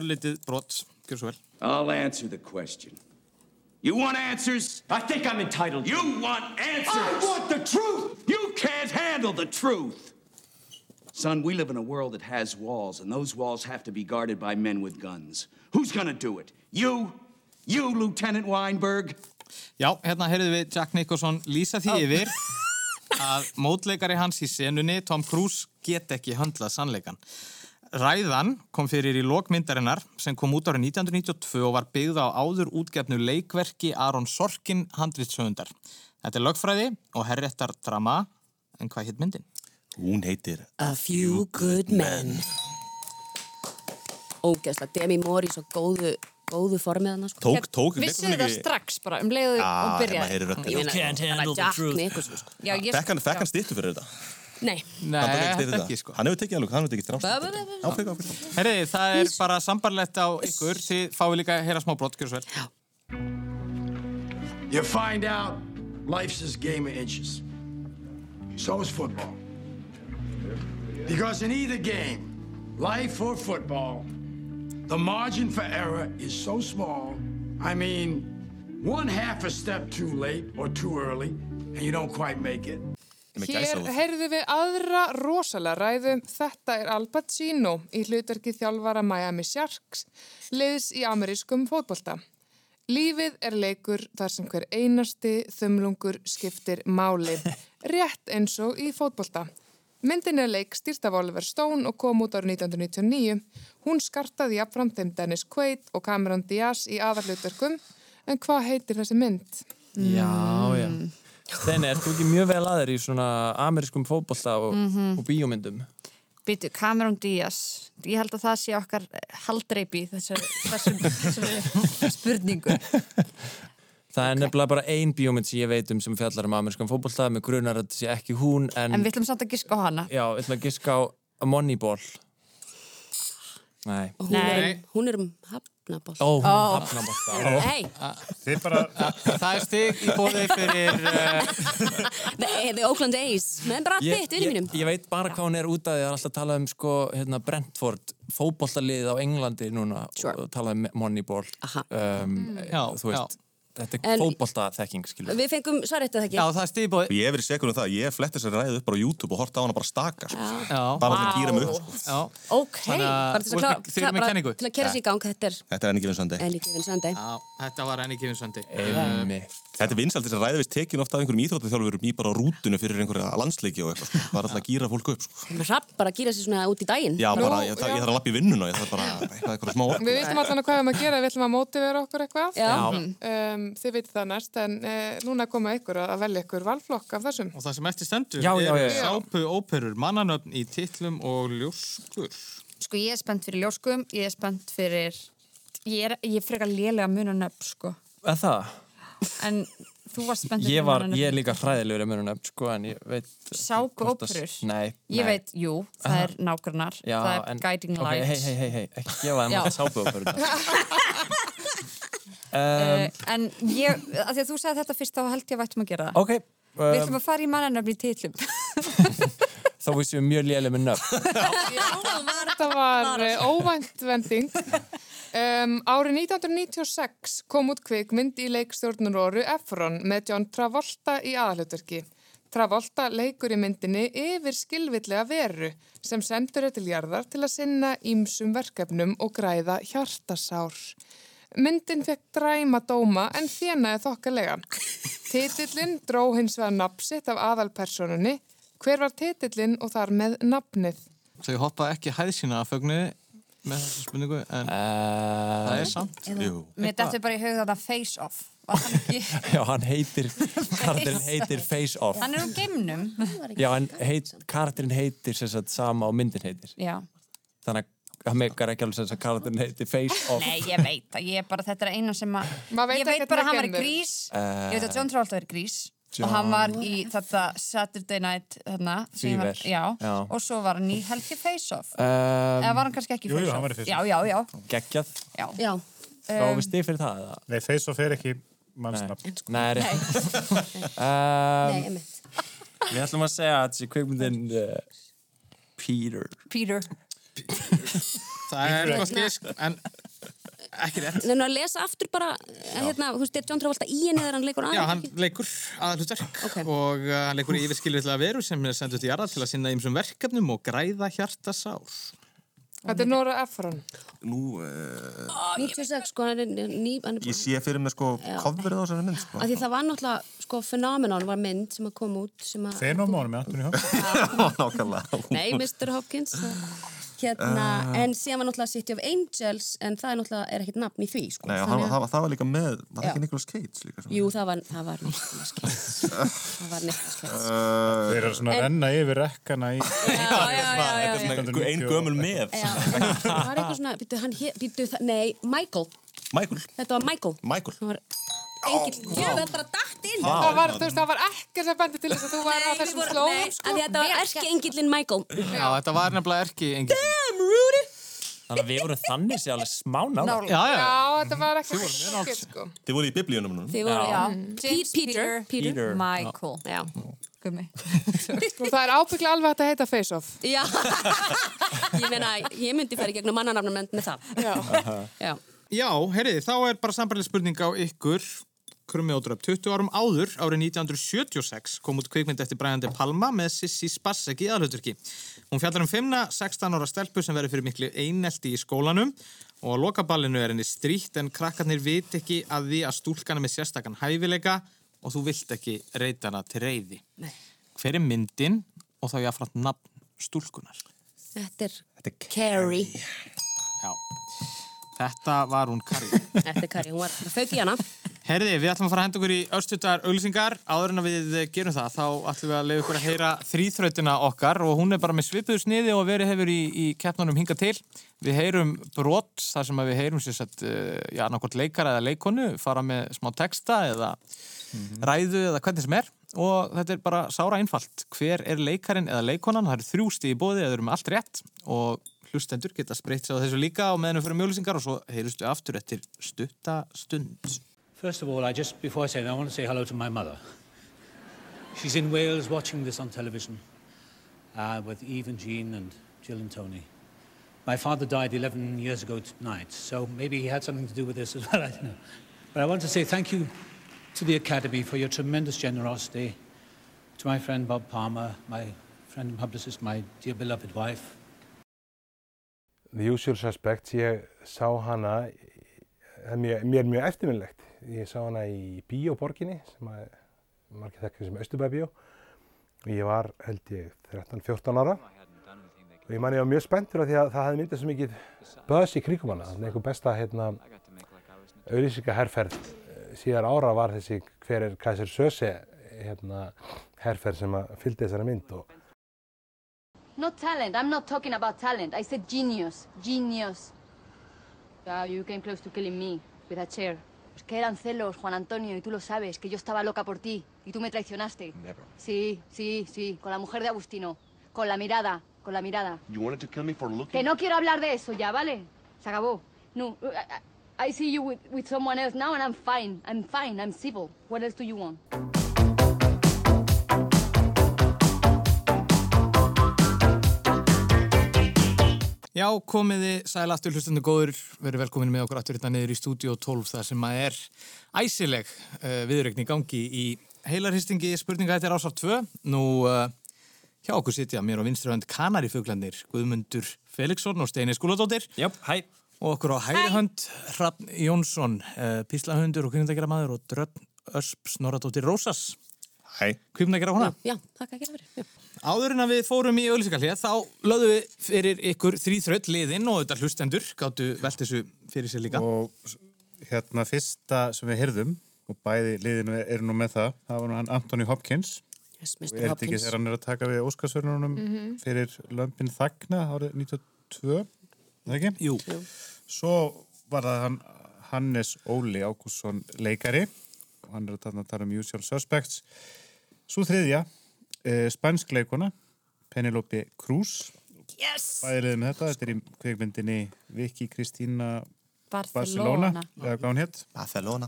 Speaker 1: örlítið brot. Gjör svo vel.
Speaker 11: I'll answer the question. You want answers? I think I'm entitled. You want answers? I want the truth. You can't handle the truth. Son, we live in a world that has walls, and those walls have to be guarded by men with guns. Who's gonna do it? You? You, Lieutenant Weinberg?
Speaker 1: Já, hérna heyrðum við Jack Nicholson lýsa því yfir að mótleikari hans í senunni, Tom Cruise, get ekki höndlað sannleikan. Ræðan kom fyrir í lokmyndarinnar sem kom út árið 1992 og var byggð á áður útgefnu leikverki Aron Sorkin handritsöfundar. Þetta er lögfræði og herréttar drama, en hvað hétt myndin?
Speaker 7: Hún heitir
Speaker 6: A few good men. Ógeðslega, Demi Moore í svo góðu, góðu formið hann, sko.
Speaker 7: Tók- tók
Speaker 5: Vissuðu
Speaker 7: Nicholson
Speaker 5: það
Speaker 7: ekki-
Speaker 5: strax bara um leiðu
Speaker 7: Ah,
Speaker 5: og
Speaker 7: hérna
Speaker 5: byrjaði.
Speaker 7: heyrir röddina.
Speaker 6: Ég meina,
Speaker 7: You can't
Speaker 6: bara
Speaker 7: handle the
Speaker 6: Jack
Speaker 7: truth.
Speaker 6: Nicholson, sko.
Speaker 5: Já, ég...
Speaker 7: Fekk hann, fekk hann stýttu fyrir þetta?
Speaker 6: Nei.
Speaker 1: Nei,
Speaker 7: Hann tók ekki stýttu
Speaker 1: þetta
Speaker 7: fyrir
Speaker 1: ekki, sko.
Speaker 7: þetta? Hann hefur tekið alveg, hann hefur tekið þrjá stýttu. Áfengi, áfengi.
Speaker 1: Herriði, það er bara sambarlegt á ykkur, þið fáið líka að heyra smá brot, gjör svo vel.
Speaker 11: You find out life's a game of inches. So is football. Because in either game, life or football, the margin for error is so small. I mean, one half a step too late or too early, and you don't quite make it.
Speaker 3: Hér heyrðu við aðra rosalega ræðu. um Þetta er Al Pacino í hlutverki þjálfara Miami Sharks, liðs í amerískum fótbolta. Lífið er leikur þar sem hver einasti þumlungur skiptir
Speaker 7: [laughs]
Speaker 3: máli, rétt eins og í fótbolta. Myndin er leik stýrt af Oliver Stone og kom út árið 1999. Hún skartaði jafnfram þeim Dennis Quaid og Cameron Diaz í aðarlutverkum. En hvað heitir þessi mynd?
Speaker 4: um- Já, já. Þenni, ert þú ekki mjög vel aðeir í svona amerískum fótbolta og,
Speaker 5: Mhm.
Speaker 4: og bíómyndum?
Speaker 5: Býtu, Cameron Diaz. Ég held að það sé okkar eh, haldreipi í þessu, þessu, þessu spurningu.
Speaker 4: Það er nefnilega bara ein bíómynd sem ég veit um sem fjallar um amerískan fótbolta með grunar að þetta sé ekki hún en,
Speaker 5: En við ætlum samt að giska á hana.
Speaker 4: Já, við ætlum að giska á Moneyball Nei
Speaker 6: Hún er, hún er um hafnaból.
Speaker 4: Ó, hún er um hafnabolta. Ó.
Speaker 6: Nei,
Speaker 2: Þið bara...
Speaker 1: Það er stig í bóði fyrir... Uh,
Speaker 6: the, the Oakland A's. Menn bara
Speaker 1: eh,
Speaker 4: Ég-
Speaker 6: fitt, vinnu
Speaker 4: ég-
Speaker 6: mínum.
Speaker 4: Ég veit bara hvað hún er út af því að það er alltaf að tala um sko, hérna, Brentford, fótbollalið á Englandi núna og tala um Moneyball um,
Speaker 1: Já,
Speaker 4: þú veist, þetta
Speaker 6: En-
Speaker 4: er fótbolta þekking, skilur.
Speaker 6: Við fengum svarréttið ekki.
Speaker 1: það er stíðbóði.
Speaker 7: Ég hef verið segur um það, ég fletti sér ræðið upp bara á YouTube og horta á hana bara staka sko.
Speaker 6: Já.
Speaker 7: Bara til að
Speaker 6: Vá.
Speaker 7: gýra mig upp sko.
Speaker 1: Já.
Speaker 6: Ok,
Speaker 7: Þannig að-
Speaker 6: bara til
Speaker 7: Þú
Speaker 6: að
Speaker 7: ert
Speaker 6: klára-
Speaker 7: með- þið eruð með
Speaker 6: bara
Speaker 7: kenningu?
Speaker 6: til að kera sig í gang þetta er
Speaker 7: Þetta er ennig vinsandi
Speaker 6: Enni Givin Sunday
Speaker 1: Já, þetta var enni Givin Sunday Eh,
Speaker 7: Þetta er vinsald þess að ræðið veist tekin ofta af einhverjum íþróttaþjálfurum í bara á rútunni fyrir einhverja landsleiki og eitthvað sko. bara alltaf að gýra fólk upp sko.
Speaker 6: Hrapp bara að gýra sig svona út í daginn
Speaker 7: Já, bara,
Speaker 6: Nú,
Speaker 7: ég, þarf- ég þarf að lappa í vinnuna ég þarf bara eitthvað eitthvað smá orð
Speaker 3: Við veitum allan að hvað við erum að gera, við ætlum að mótivera okkur eitthvað.
Speaker 7: Já.
Speaker 3: Um, þið veitir það næst, en uh, núna koma ykkur að að velja ykkur valflokk af þessum.
Speaker 1: Og það sem eftir stendur
Speaker 3: Já, já,
Speaker 1: eru
Speaker 3: já, já.
Speaker 1: sápu óperur, mannanöfn í titlum og ljóskur.
Speaker 5: Sko ég er spennt fyrir ljóskum, ég er spennt fyrir Ég er, ég er frekar lélega að muna nöfn sko
Speaker 4: Eða það?
Speaker 5: En þú varst spennt
Speaker 4: Ég, var,
Speaker 5: fyrir
Speaker 4: ég er líka hræðilegur að mjög nefn, sko, en ég veit...
Speaker 5: Sápuóperur?
Speaker 4: Nei, nei.
Speaker 5: Ég veit, jú, það
Speaker 4: Aha.
Speaker 5: er nágrannar
Speaker 4: Já,
Speaker 5: Það er
Speaker 4: en-
Speaker 5: guiding
Speaker 4: ok,
Speaker 5: light
Speaker 4: Hei, hei, hei, hei, ekki gefa þeim
Speaker 5: Já.
Speaker 4: alltaf sápuóperur.
Speaker 5: [laughs] Uh,
Speaker 4: um,
Speaker 5: en ég, að því að þú sagði þetta fyrst þá held ég að vættum að gera það
Speaker 4: ok,
Speaker 5: Við ætlum
Speaker 4: um,
Speaker 5: að fara í mannarnöfni í titlum
Speaker 4: þá vissum við mjög lélega með nöfn.
Speaker 5: [laughs]
Speaker 3: Þetta var eh, óvænt vending. Um, árið 1996 kom út kvikmynd í leikstjórnuróru Efron með John Travolta í aðalutverki. Travolta leikur í myndinni yfir skilvillega veru sem sendur er til jarðar til að sinna ímsum verkefnum og græða hjartasár. Myndin fekk dræma dóma en þjenaði þokkalega. Titillin dró hins vegar nafnsitt af aðalpersonunni. Hver var titillin og þar með nafnið?
Speaker 1: Þau hoppa ekki hæðsina að fögnu með þessu spurningu, en
Speaker 3: Eh.
Speaker 1: það er samt.
Speaker 7: Jú.
Speaker 5: Mér dættu bara í hug þetta face off Var hann ekki,
Speaker 4: Já, hann
Speaker 5: [laughs]
Speaker 4: heitir, karakterinn heitir Face Off.
Speaker 5: hann er úr geimnum
Speaker 4: Já, en heit, karakterinn heitir sem sagt sama og myndin heitir.
Speaker 5: Já,
Speaker 4: Þannig að það meikar ekki alveg sem sagt karakterinn heitir Face Off.
Speaker 5: nei, ég veit það Ég er bara, þetta er eina sem að
Speaker 3: veit
Speaker 5: Ég veit
Speaker 3: ekkert
Speaker 5: bara að
Speaker 3: með
Speaker 5: hann var í
Speaker 3: geimverur.
Speaker 5: grís
Speaker 4: Eh.
Speaker 5: Ég veit að John Travolta var í grís
Speaker 4: John.
Speaker 5: og hann var í þetta Saturday Night hérna, sem var-
Speaker 4: Fever.
Speaker 5: já,
Speaker 4: Já.
Speaker 5: og svo var hann í Helgi Face Off
Speaker 1: Ehm,
Speaker 4: Um,
Speaker 5: eða var hann kannski ekki
Speaker 4: jú, jú,
Speaker 5: Face Off
Speaker 4: hann var í Face
Speaker 5: já,
Speaker 4: Off.
Speaker 5: já, já,
Speaker 4: Geggjað.
Speaker 5: já.
Speaker 6: já.
Speaker 4: Þá um, við stið fyrir það, eða?
Speaker 2: Nei, face off er ekki mannsnafn.
Speaker 4: Nei, er
Speaker 6: [laughs]
Speaker 2: [laughs]
Speaker 6: Nei,
Speaker 4: um,
Speaker 6: einmitt
Speaker 4: Við ætlum að segja að þessi kvikmyndin uh, Peter
Speaker 5: Peter
Speaker 1: Það er eitthvað skisk, en ekki rétt.
Speaker 6: Nefnum að lesa aftur bara eh, hérna, þú veist, er John Travolta í henni þegar hann leikur
Speaker 1: Já,
Speaker 6: aðeins
Speaker 1: hann leikur aðalhutverk og uh, hann leikur í yfirskilvillega veru sem er sendur til jarðar til að sinna ímsum verkefnum og græða hjartasár.
Speaker 3: Þetta er Nora Efron.
Speaker 7: Nú, eh,
Speaker 6: 96, sko, hann er ný hann er
Speaker 7: ég sé fyrir mig sko
Speaker 6: Já.
Speaker 7: kofverið á þessari mynd
Speaker 6: Af
Speaker 7: sko.
Speaker 6: því það var náttúrulega, sko, Phenomenon var mynd sem að koma út sem að...
Speaker 2: Fenomónu með Antoni Hjók.
Speaker 7: Nákvæmlega
Speaker 6: Nei, Mr. Hopkins.
Speaker 7: Ah.
Speaker 6: Hérna, en síðan var náttúrulega City of Angels, en það er náttúrulega er ekkert nafn í því, sko.
Speaker 7: Nei, og hann,
Speaker 6: Þannig að-
Speaker 7: það, var- það var líka með, var það
Speaker 6: Já.
Speaker 7: ekki Nicolas Cage líka sko. sem-
Speaker 6: Jú, það var, það var neitt skeitt. Það var neitt skeitt.
Speaker 7: Þeir
Speaker 2: eru svona að
Speaker 6: En-
Speaker 2: renna yfir rekkana í...
Speaker 7: Þetta er svona ein gömul með
Speaker 6: Það var eitthvað svona, býttu, hann hér, býttu, það- nei, Michael.
Speaker 7: Michael
Speaker 6: Þetta var Michael.
Speaker 7: Michael
Speaker 6: Það var engill. Jú, það bara datt inn.
Speaker 7: Vá.
Speaker 3: Það var, þú veist, það var ekkert sem bendi til þess að þú var á
Speaker 6: Nei, við
Speaker 3: þessum
Speaker 6: vorum- nei,
Speaker 3: slóðum,
Speaker 6: af
Speaker 3: sko.
Speaker 6: því þetta var erki engillin Michael.
Speaker 1: Já, þetta var nefnilega erki engin.
Speaker 6: Damn, Rudy!
Speaker 4: Þannig að við vorum þannig sé alveg smá nála
Speaker 1: Já, já.
Speaker 3: þetta var ekkert ekkert, sko. Mm.
Speaker 7: Þið voru í biblíunum núna
Speaker 6: Þið voru, já. Pete- Peter.
Speaker 7: Peter. Peter.
Speaker 5: Michael
Speaker 6: Já,
Speaker 5: gummi
Speaker 3: Sko, það er ábygglega alveg hægt að heita face-off.
Speaker 6: Já, [laughs] ég meina, ég myndi fara í gegnum mannanafnamönd með það.
Speaker 1: Aha.
Speaker 6: Já.
Speaker 1: Já, heyrði, þá er bara sambarleg spurning á ykkur krummi og dröp. 20 árum áður, árið 1976, kom út kvikmynd eftir Brian De Palma með Sissi Spassek í aðluturki. Hún fjallar um fimmna, 16 ára stelpu sem verður fyrir miklu einelti í skólanum og á lokaballinu er henni strítt en krakkarnir vit ekki að því að stúlkan er með sérstakann hæfileika og þú vilt ekki reyta hana til reyði.
Speaker 6: Nei.
Speaker 1: Hver er myndin og þá ég að fratt nafn stúlkunar?
Speaker 6: Þetta er, Carrie.
Speaker 1: Já, þetta var hún Karri.
Speaker 6: Þetta er Carrie, hún var fauk í hana.
Speaker 1: Herði, við ætlum að fara að henda okkur í örstutar auglýsingar. Áður en að við gerum það, þá ætlum við að leiða okkur að heyra þrýþrautina okkar og hún er bara með svipuðu sniði og verið hefur í, í keppnunum hingað til. Við heyrum brot, þar sem að við heyrum sér sett, eh, já, nákvæmt leikara eða leikonu, fara með smá texta eða ræðu eða hvernig sem er og þetta er bara sára einfalt. Hver er leikarinn eða leikonan? Það eru þrjústi í bóði eða þau eru með allt rétt og hlustendur geta spreitt sér á þessu líka og meðan við fyrir mjölusingar og svo heyrustu aftur eftir stutta stund.
Speaker 12: First of all, I just before I say that, I want to say hello to my mother. She's in Wales watching this on television uh, with Eve and Jean and Jill and Tony. My father died [laughs] 11 years ago tonight, so maybe he had something to do with this as well. I don't know. But I want to say thank you to the Academy for your tremendous generosity, to my friend Bob Palmer, my friend and publicist, my dear beloved wife,
Speaker 13: The Usual Suspects, ég sá hana, það er mjög, mér er mjög eftirminnlegt. Ég sá hana í Bíóborginni, sem að margir þekkir sem Östubæbíó. Ég var, held ég, 13-14 ára. Og ég man ég var mjög spenntur af því að það hefði myndið svo mikið buzz í kringum hana. Þannig einhver besta, hérna, auðlýsingaherferð síðar ára var þessi hver er Kaiser Söse, hérna, herferð sem að fylgdi þessari mynd. Og
Speaker 14: No talent. I'm not talking about talent. I said genius. Genius. Yeah, you came close to killing me with a chair. Es que eran celos, Juan Antonio, y tú lo sabes, que yo estaba loca por ti y tú me traicionaste.
Speaker 11: Never.
Speaker 14: Sí, sí, sí, con la mujer de Agustino. Con la mirada, con la mirada.
Speaker 11: You wanted to kill me for looking.
Speaker 14: Que no quiero hablar de eso ya, ¿vale? Se acabó. No, I, I- I see you with, with someone else now and I'm fine. I'm fine. I'm civil. What else do you want?
Speaker 1: Já, komiði, sæl aftur hlustundu góður, verið velkomin með okkur aftur hérna niður í stúdíó 12 þar sem að er æsileg uh, viðrögn í gangi í heilarhistingi spurninga þetta er ásar 2. Nú, uh, hjá okkur sitja mér á vinstri hönd kanarifuglandir, Guðmundur Felixson og Steini Skúladóttir.
Speaker 4: Jáp, hæ.
Speaker 1: Og okkur á hægri hönd, Hrafn Jónsson, uh, píslahundur og kvindagjara maður og dröfn Ösp Snorradóttir Rósas.
Speaker 7: Hæ.
Speaker 1: Kvindagjara hona.
Speaker 6: Já, takk að gera fyrir.
Speaker 1: Áður en að við fórum í auðlýsingarlið þá lögðum við fyrir ykkur þrýþröld liðinn og þetta hlustendur gáttu velt þessu fyrir sér líka.
Speaker 2: Og hérna fyrsta sem við heyrðum og bæði liðinu eru nú með það það var nú hann Anthony Hopkins
Speaker 6: yes,
Speaker 2: og er
Speaker 6: Mr.
Speaker 2: þetta ekki
Speaker 6: Hopkins.
Speaker 2: þegar hann er að taka við Óskarsvörnunum
Speaker 6: Mhm.
Speaker 2: fyrir Lömpin Þagna árið 92 er það ekki?
Speaker 1: Jú.
Speaker 2: Svo var það hann Hannes Óli Ágússon leikari og hann er að tala- tala um Usual Suspects Svo þriðja eh, spænsk leikona Penelope Cruz
Speaker 5: Yes!
Speaker 2: Bæði
Speaker 10: [laughs]
Speaker 2: liðið með þetta, þetta er í kveikmyndinni Viki Kristína
Speaker 5: Barcelona.
Speaker 2: eða hvað hún hétt
Speaker 7: Barcelona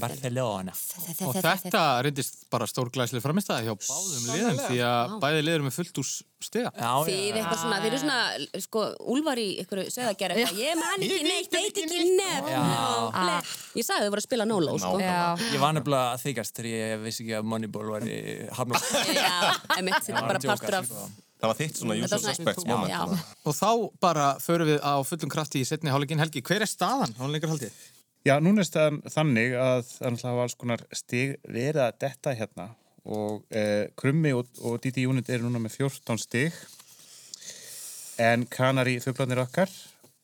Speaker 4: Barcelona
Speaker 1: Og þetta reyndist bara stórglæslega framistæði hjá báðum liðum
Speaker 6: Sannarlega.
Speaker 1: því að
Speaker 6: Já.
Speaker 1: bæði liður með fullt úr stiga.
Speaker 6: Þið eitthvað svona, þið eru svona, sko, Úlfar í einhverju söðagjara eitthvað, ég man ekki neitt, Ah. veit ekki
Speaker 4: Já.
Speaker 6: nefn. Ég sagði þau voru að spila nóló, sko.
Speaker 4: Ég var nefnilega að þykast þegar ég vissi ekki að Moneyball var í hafnum.
Speaker 6: Já, emitt, þetta er bara partur af...
Speaker 4: sko.
Speaker 7: Það var þitt svona
Speaker 6: Þetta
Speaker 7: usual
Speaker 6: var svona-
Speaker 7: suspects
Speaker 6: Já.
Speaker 7: moment.
Speaker 6: Já.
Speaker 7: þarna.
Speaker 1: Og þá bara förum við á fullum krafti í setni hálfleikin Helgi. Hver er staðan á lengur haldið?
Speaker 2: Já, núna er staðan þannig að það er náttúrulega alls konar stig verið að detta hérna og eh, Krummi og, og Didi Unit eru núna með 14 stig en Kanari fuglarnir okkar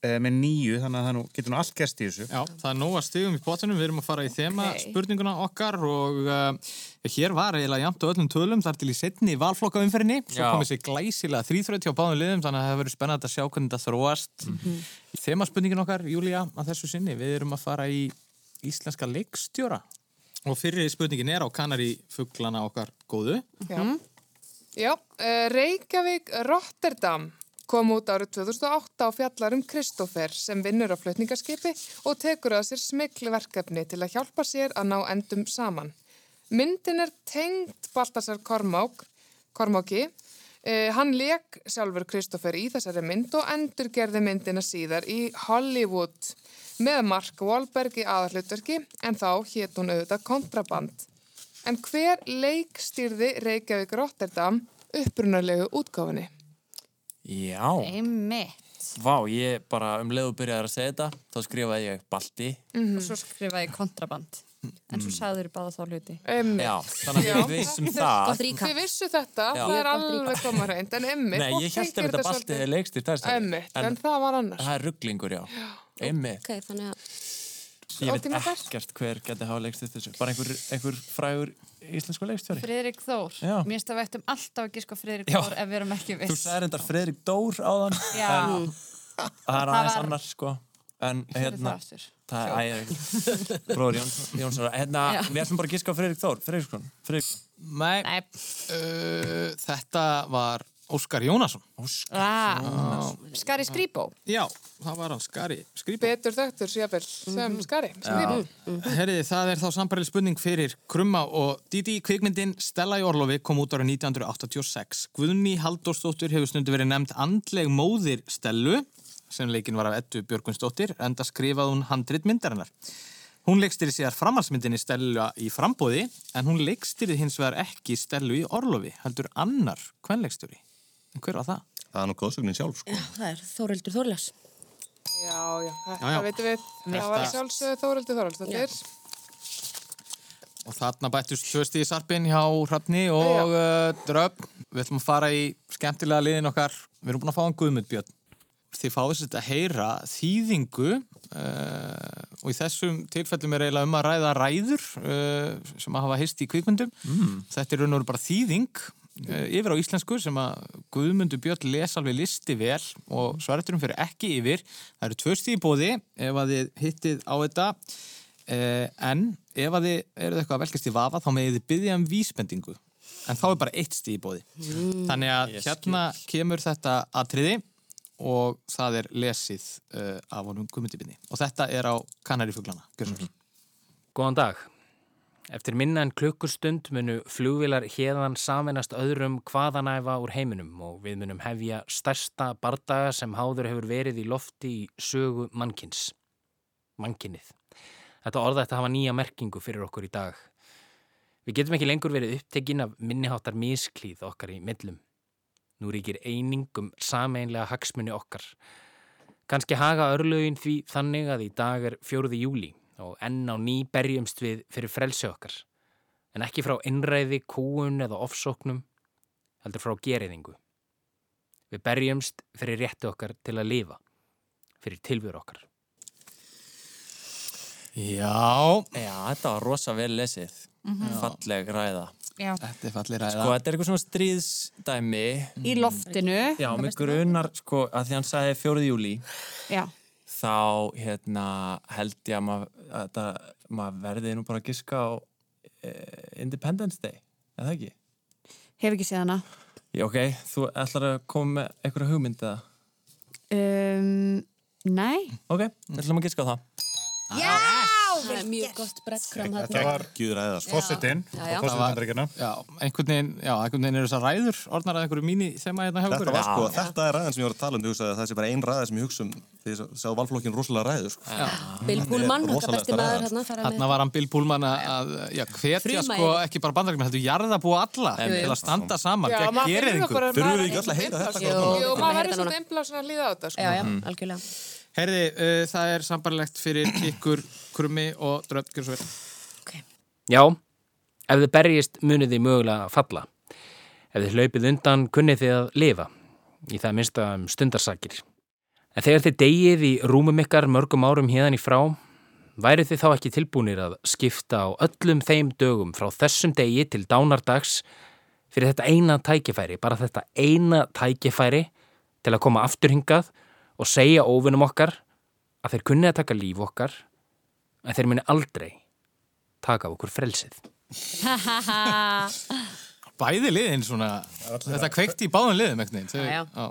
Speaker 2: eh, með nýju, þannig að það nú, getur nú allt gerst í þessu.
Speaker 1: Já, það er nóg að stigum í botunum, við erum að fara í þema
Speaker 2: Ok.
Speaker 1: spurninguna okkar og uh, hér var eiginlega jæmt á öllum tölum þar til í setni valflokkaumferðinni, svo
Speaker 4: Já.
Speaker 1: komið sér glæsilega þrýþröð hjá báðum liðum þannig að það verður spennandi að sjá hvernig þetta þróast. Mm -hmm. Þema spurningin okkar, Júlía, að þessu sinni, við erum að fara í íslenska leikstjóra og fyrir spurningin er á kanari fugglana okkar góðu.
Speaker 3: Já. Mhm. Já, eh, Reykjavík Rotterdam kom út árið 2008 á fjallarum Kristófer um sem vinnur á flutningaskipi og tekur að sér smiklverkefni til að hjálpa sér að ná endum saman. Myndin er tengd Baltasar Kormák, Kormáki. Eh, hann leik sjálfur Kristófer í þessari mynd og endurgerði myndina síðar í Hollywood með Mark Wahlberg í aðalhlutverki en þá hétt hún auðvitað kontraband. En hver leikstýrði Reykjavík Rotterdam upprunalegu útgáfinni?
Speaker 4: Já.
Speaker 5: Einmitt.
Speaker 4: Vá, ég bara um leiðu byrjaði að segja þetta, þá skrifaði ég Balti.
Speaker 5: Og svo skrifaði ég kontraband. En svo
Speaker 4: Mm.
Speaker 5: sagði þér báða þá hluti.
Speaker 3: Einmitt.
Speaker 4: Já, þannig að við vissum [laughs] það.
Speaker 3: Þið vissu þetta,
Speaker 4: Já.
Speaker 3: það er
Speaker 4: Ég er gott
Speaker 3: alveg koma reynd, en emmi,
Speaker 4: Nei, ég held að þetta Balti er leikstýrt þessari.
Speaker 3: Emmitt, en, það var annars.
Speaker 4: Það er rugglingur, já. Einmitt.
Speaker 6: Ok, þannig að...
Speaker 4: Ég veit
Speaker 6: Ótímabært.
Speaker 4: ekkert hver geti hafa leikstýrt þessu. Bara einhver, einhver frægur íslensku leikstjóri.
Speaker 5: Friðrik Þór.
Speaker 4: Já.
Speaker 5: Mér finnst að vægt um alltaf ekki sko Friðrik
Speaker 4: Já.
Speaker 5: Þór ef við erum ekki
Speaker 4: Þú
Speaker 5: viss.
Speaker 4: sagði reyndar Fredrik Dór áðan
Speaker 5: Já.
Speaker 4: en Það er
Speaker 5: Það
Speaker 4: aðeins
Speaker 5: var-
Speaker 4: annar sko En hérna
Speaker 5: það aftur.
Speaker 4: Það er ægir Bróður Jóns, Jónsson Hérna,
Speaker 5: Já.
Speaker 4: við ætlum bara að giska á Fredrik Þór Fredriksson Fredriksson
Speaker 1: Nei,
Speaker 5: Nei.
Speaker 1: Uh, þetta var Óskar Jónasson.
Speaker 4: Óskar
Speaker 5: Ah,
Speaker 1: Já.
Speaker 5: Skari Skrýbó.
Speaker 1: Já, það var hann Skari Skrýbó.
Speaker 3: Betur þögtur, sérfell,
Speaker 6: Mhm.
Speaker 3: sem skari. Skrýbó.
Speaker 1: Herriði, Mhm. það er þá sambarileg spurning fyrir Krumma og Didi kvikmyndin Stella í Orlofi kom út árið 1986. Guðni Halldórsdóttir hefur stundu verið nefnd andleg móðir Stellu sem leikin var af Ettu Björgunsdóttir enda skrifað hún handrit myndarinnar. Hún leikstýri sér framhalsmyndinni Stella í frambóði en hún leikstýrið hins vegar ekki Stellu í Orlofi, heldur annar kvenleikstýri. En hver var það?
Speaker 7: Það er nú góðsögnin sjálf, sko.
Speaker 6: Það er Þórildur Þórildas.
Speaker 3: Já, já,
Speaker 1: Já,
Speaker 3: það,
Speaker 1: já.
Speaker 3: það veitum við. Það var
Speaker 1: Þetta-
Speaker 3: sjálfsögðu Þóraldi Þóraldsdóttir.
Speaker 1: Og þarna bættust tvö stíði sarpin hjá Hrafni og uh, Dröpp. Við ætlum að fara í skemmtilega liðin okkar. Við erum búin að fá hann Guðmund Björn. Þið fáið sér að heyra þýðingu uh, og í þessum tilfellum er eiginlega um að ræða ræður uh, sem að hafa heist í kvikmyndum.
Speaker 10: Mm.
Speaker 1: Þetta er raun og veru bara þýðing uh, yfir á íslensku sem að Guðmundur Björn les alveg listi vel og svarturum fyrir ekki yfir. Það eru tvö stíði bóði ef að þið hittið á þetta uh, en ef að þið eruð eitthvað að velkast í vafa þá meðið þið byggja um vísbendingu en þá er bara eitt stíði bóði. Mm.
Speaker 3: Mm.
Speaker 1: Þannig að hérna kemur þetta atriði og það er lesið uh, af honum gummintibinni og þetta er á Kanarífuglana. Gjörnum.
Speaker 15: Góðan dag. Eftir minna en klukkustund munu flugvilar hérðan saminast öðrum hvaðanæfa úr heiminum og við munum hefja stærsta bardaga sem háður hefur verið í lofti í sögu mannkins. Mannkinnið. Þetta orða þetta hafa nýja merkingu fyrir okkur í dag. Við getum ekki lengur verið upptekinn af minniháttar misklíð okkar í millum. Nú ríkir einingum sameinlega hagsmunni okkar. Kanski haga örlögin því þannig að í dag er 4. júli og enn á ný berjumst við fyrir frelsi okkar. En ekki frá innræði, kúun eða ofsóknum, heldur frá geriðingu. Við berjumst fyrir rétti okkar til að lifa, fyrir tilvör okkar.
Speaker 1: Já.
Speaker 4: Já, þetta var rosa vel lesið.
Speaker 5: Mhm.
Speaker 4: Falleg ræða.
Speaker 5: Já.
Speaker 1: Þetta er falleg
Speaker 4: Sko, þetta er eitthvað svona stríðsdæmi.
Speaker 5: Í
Speaker 4: Mm.
Speaker 5: loftinu.
Speaker 4: Já, mig grunar, sko, að því hann sagði 4. júli,
Speaker 5: Já.
Speaker 4: þá hérna, held ég að maður mað mað verði nú bara að giska á eh, Independence Day, eða ekki?
Speaker 5: Hef ekki séð hana.
Speaker 4: Já, ok, þú ætlar að koma með einhverja hugmynd eða?
Speaker 5: Um, nei.
Speaker 4: Ok, við ætlum að giska á það.
Speaker 5: Já!
Speaker 6: Það er mjög gott brettkrám
Speaker 1: Þetta var
Speaker 7: Gjöðræða,
Speaker 6: sko. Forsetinn Já, já. og forseti
Speaker 1: Bandaríkjana. Já, einhvern veginn, já, einhvern veginn eru þessar ræður orðnar að einhverju mínu þema hérna hjá
Speaker 7: Þetta
Speaker 1: okkur.
Speaker 7: var sko, þetta er ræðan sem ég var að tala um, þú sagði að það sé bara ein ræða sem ég hugsa um því að sá valflokkin rosalega ræður, sko.
Speaker 1: Já.
Speaker 6: Bill Pullman, okkar besti maður hérna, fara með.
Speaker 1: Þarna var hann Bill Pullman að- að já, hvetja
Speaker 6: Frumæður.
Speaker 1: sko ekki bara bandarækjum, heldur jarða búa alla
Speaker 6: Jú, jú.
Speaker 1: til að standa saman,
Speaker 3: Já,
Speaker 1: gegn
Speaker 3: maður finnur
Speaker 1: geriðingu.
Speaker 3: okkur að Þurfum maður við ekki öll að heyra
Speaker 6: þetta?
Speaker 3: Jú,
Speaker 6: Jú,
Speaker 3: maður
Speaker 6: maður
Speaker 3: verður
Speaker 6: núna.
Speaker 3: svolítið einblásin að líða á þetta, sko.
Speaker 6: Já, já,
Speaker 1: Mhm.
Speaker 6: algjörlega.
Speaker 1: Herði, uh, það er sambarlegt fyrir kikkur, krummi og dröfn, gjör svo vel.
Speaker 15: Já, ef þið berjist munið þið mögulega falla. Ef þið hlaupið undan kunnið þið að lifa, í það minnsta um stundarsakir. En þegar þið degið í rúmum ykkar mörgum árum hérðan í frá, værið þið þá ekki tilbúinir að skipta á öllum þeim dögum frá þessum degi til dánardags fyrir þetta eina tækifæri, bara þetta eina tækifæri til að koma aftur hingað og segja óvinum okkar að þeir kunni að taka líf okkar, en þeir muni aldrei taka af okkur frelsið.
Speaker 1: Bæði liðin svona, þetta kveikti í báðum liðum ekkert.
Speaker 6: Já, já.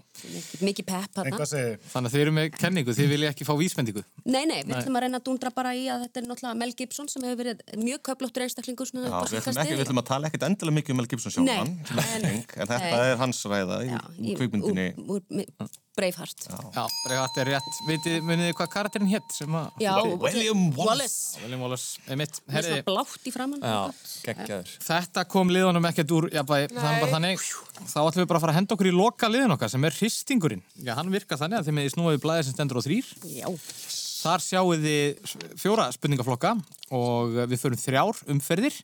Speaker 6: Mikið pepp hérna.
Speaker 1: Þannig að þið eru með kenningu, þið vilja ekki fá vísmendingu.
Speaker 6: Nei, nei, við
Speaker 1: Nei.
Speaker 6: ætlum að reyna að dundra bara í að þetta er náttúrulega Mel Gibson sem hefur verið mjög köflóttur einstaklingur
Speaker 7: Já,
Speaker 6: svona upp á
Speaker 7: við ætlum,
Speaker 6: síðkastið.
Speaker 7: ekki, við ætlum að tala ekkert endilega mikið um Mel Gibson sjálfan,
Speaker 6: Nei.
Speaker 7: sem er
Speaker 6: En-
Speaker 7: teng, en þetta
Speaker 6: Nei.
Speaker 7: er hans ræða í, í
Speaker 6: Í-
Speaker 7: kvikmyndinni.
Speaker 6: úr- úr- Braveheart.
Speaker 1: Já, Braveheart er rétt. Vitið, munið þið hvað karakterinn hétt sem að...
Speaker 6: Já, William Wallace.
Speaker 1: Já, William Wallace, einmitt.
Speaker 6: Með
Speaker 1: Herði,
Speaker 6: svona blátt í framann.
Speaker 4: geggjaður.
Speaker 1: Þetta kom liðunum ekkert úr, já, bæ, það er bara þannig. Þá ætlum við bara að fara að henda okkur í loka liðun okkar sem er hristingurinn. Já, hann virkar þannig að þið meði snúið blæðið sem stendur á þrýr.
Speaker 6: Já.
Speaker 1: Þar sjáuð þið fjóra spurningaflokka og við förum þrjár umferðir.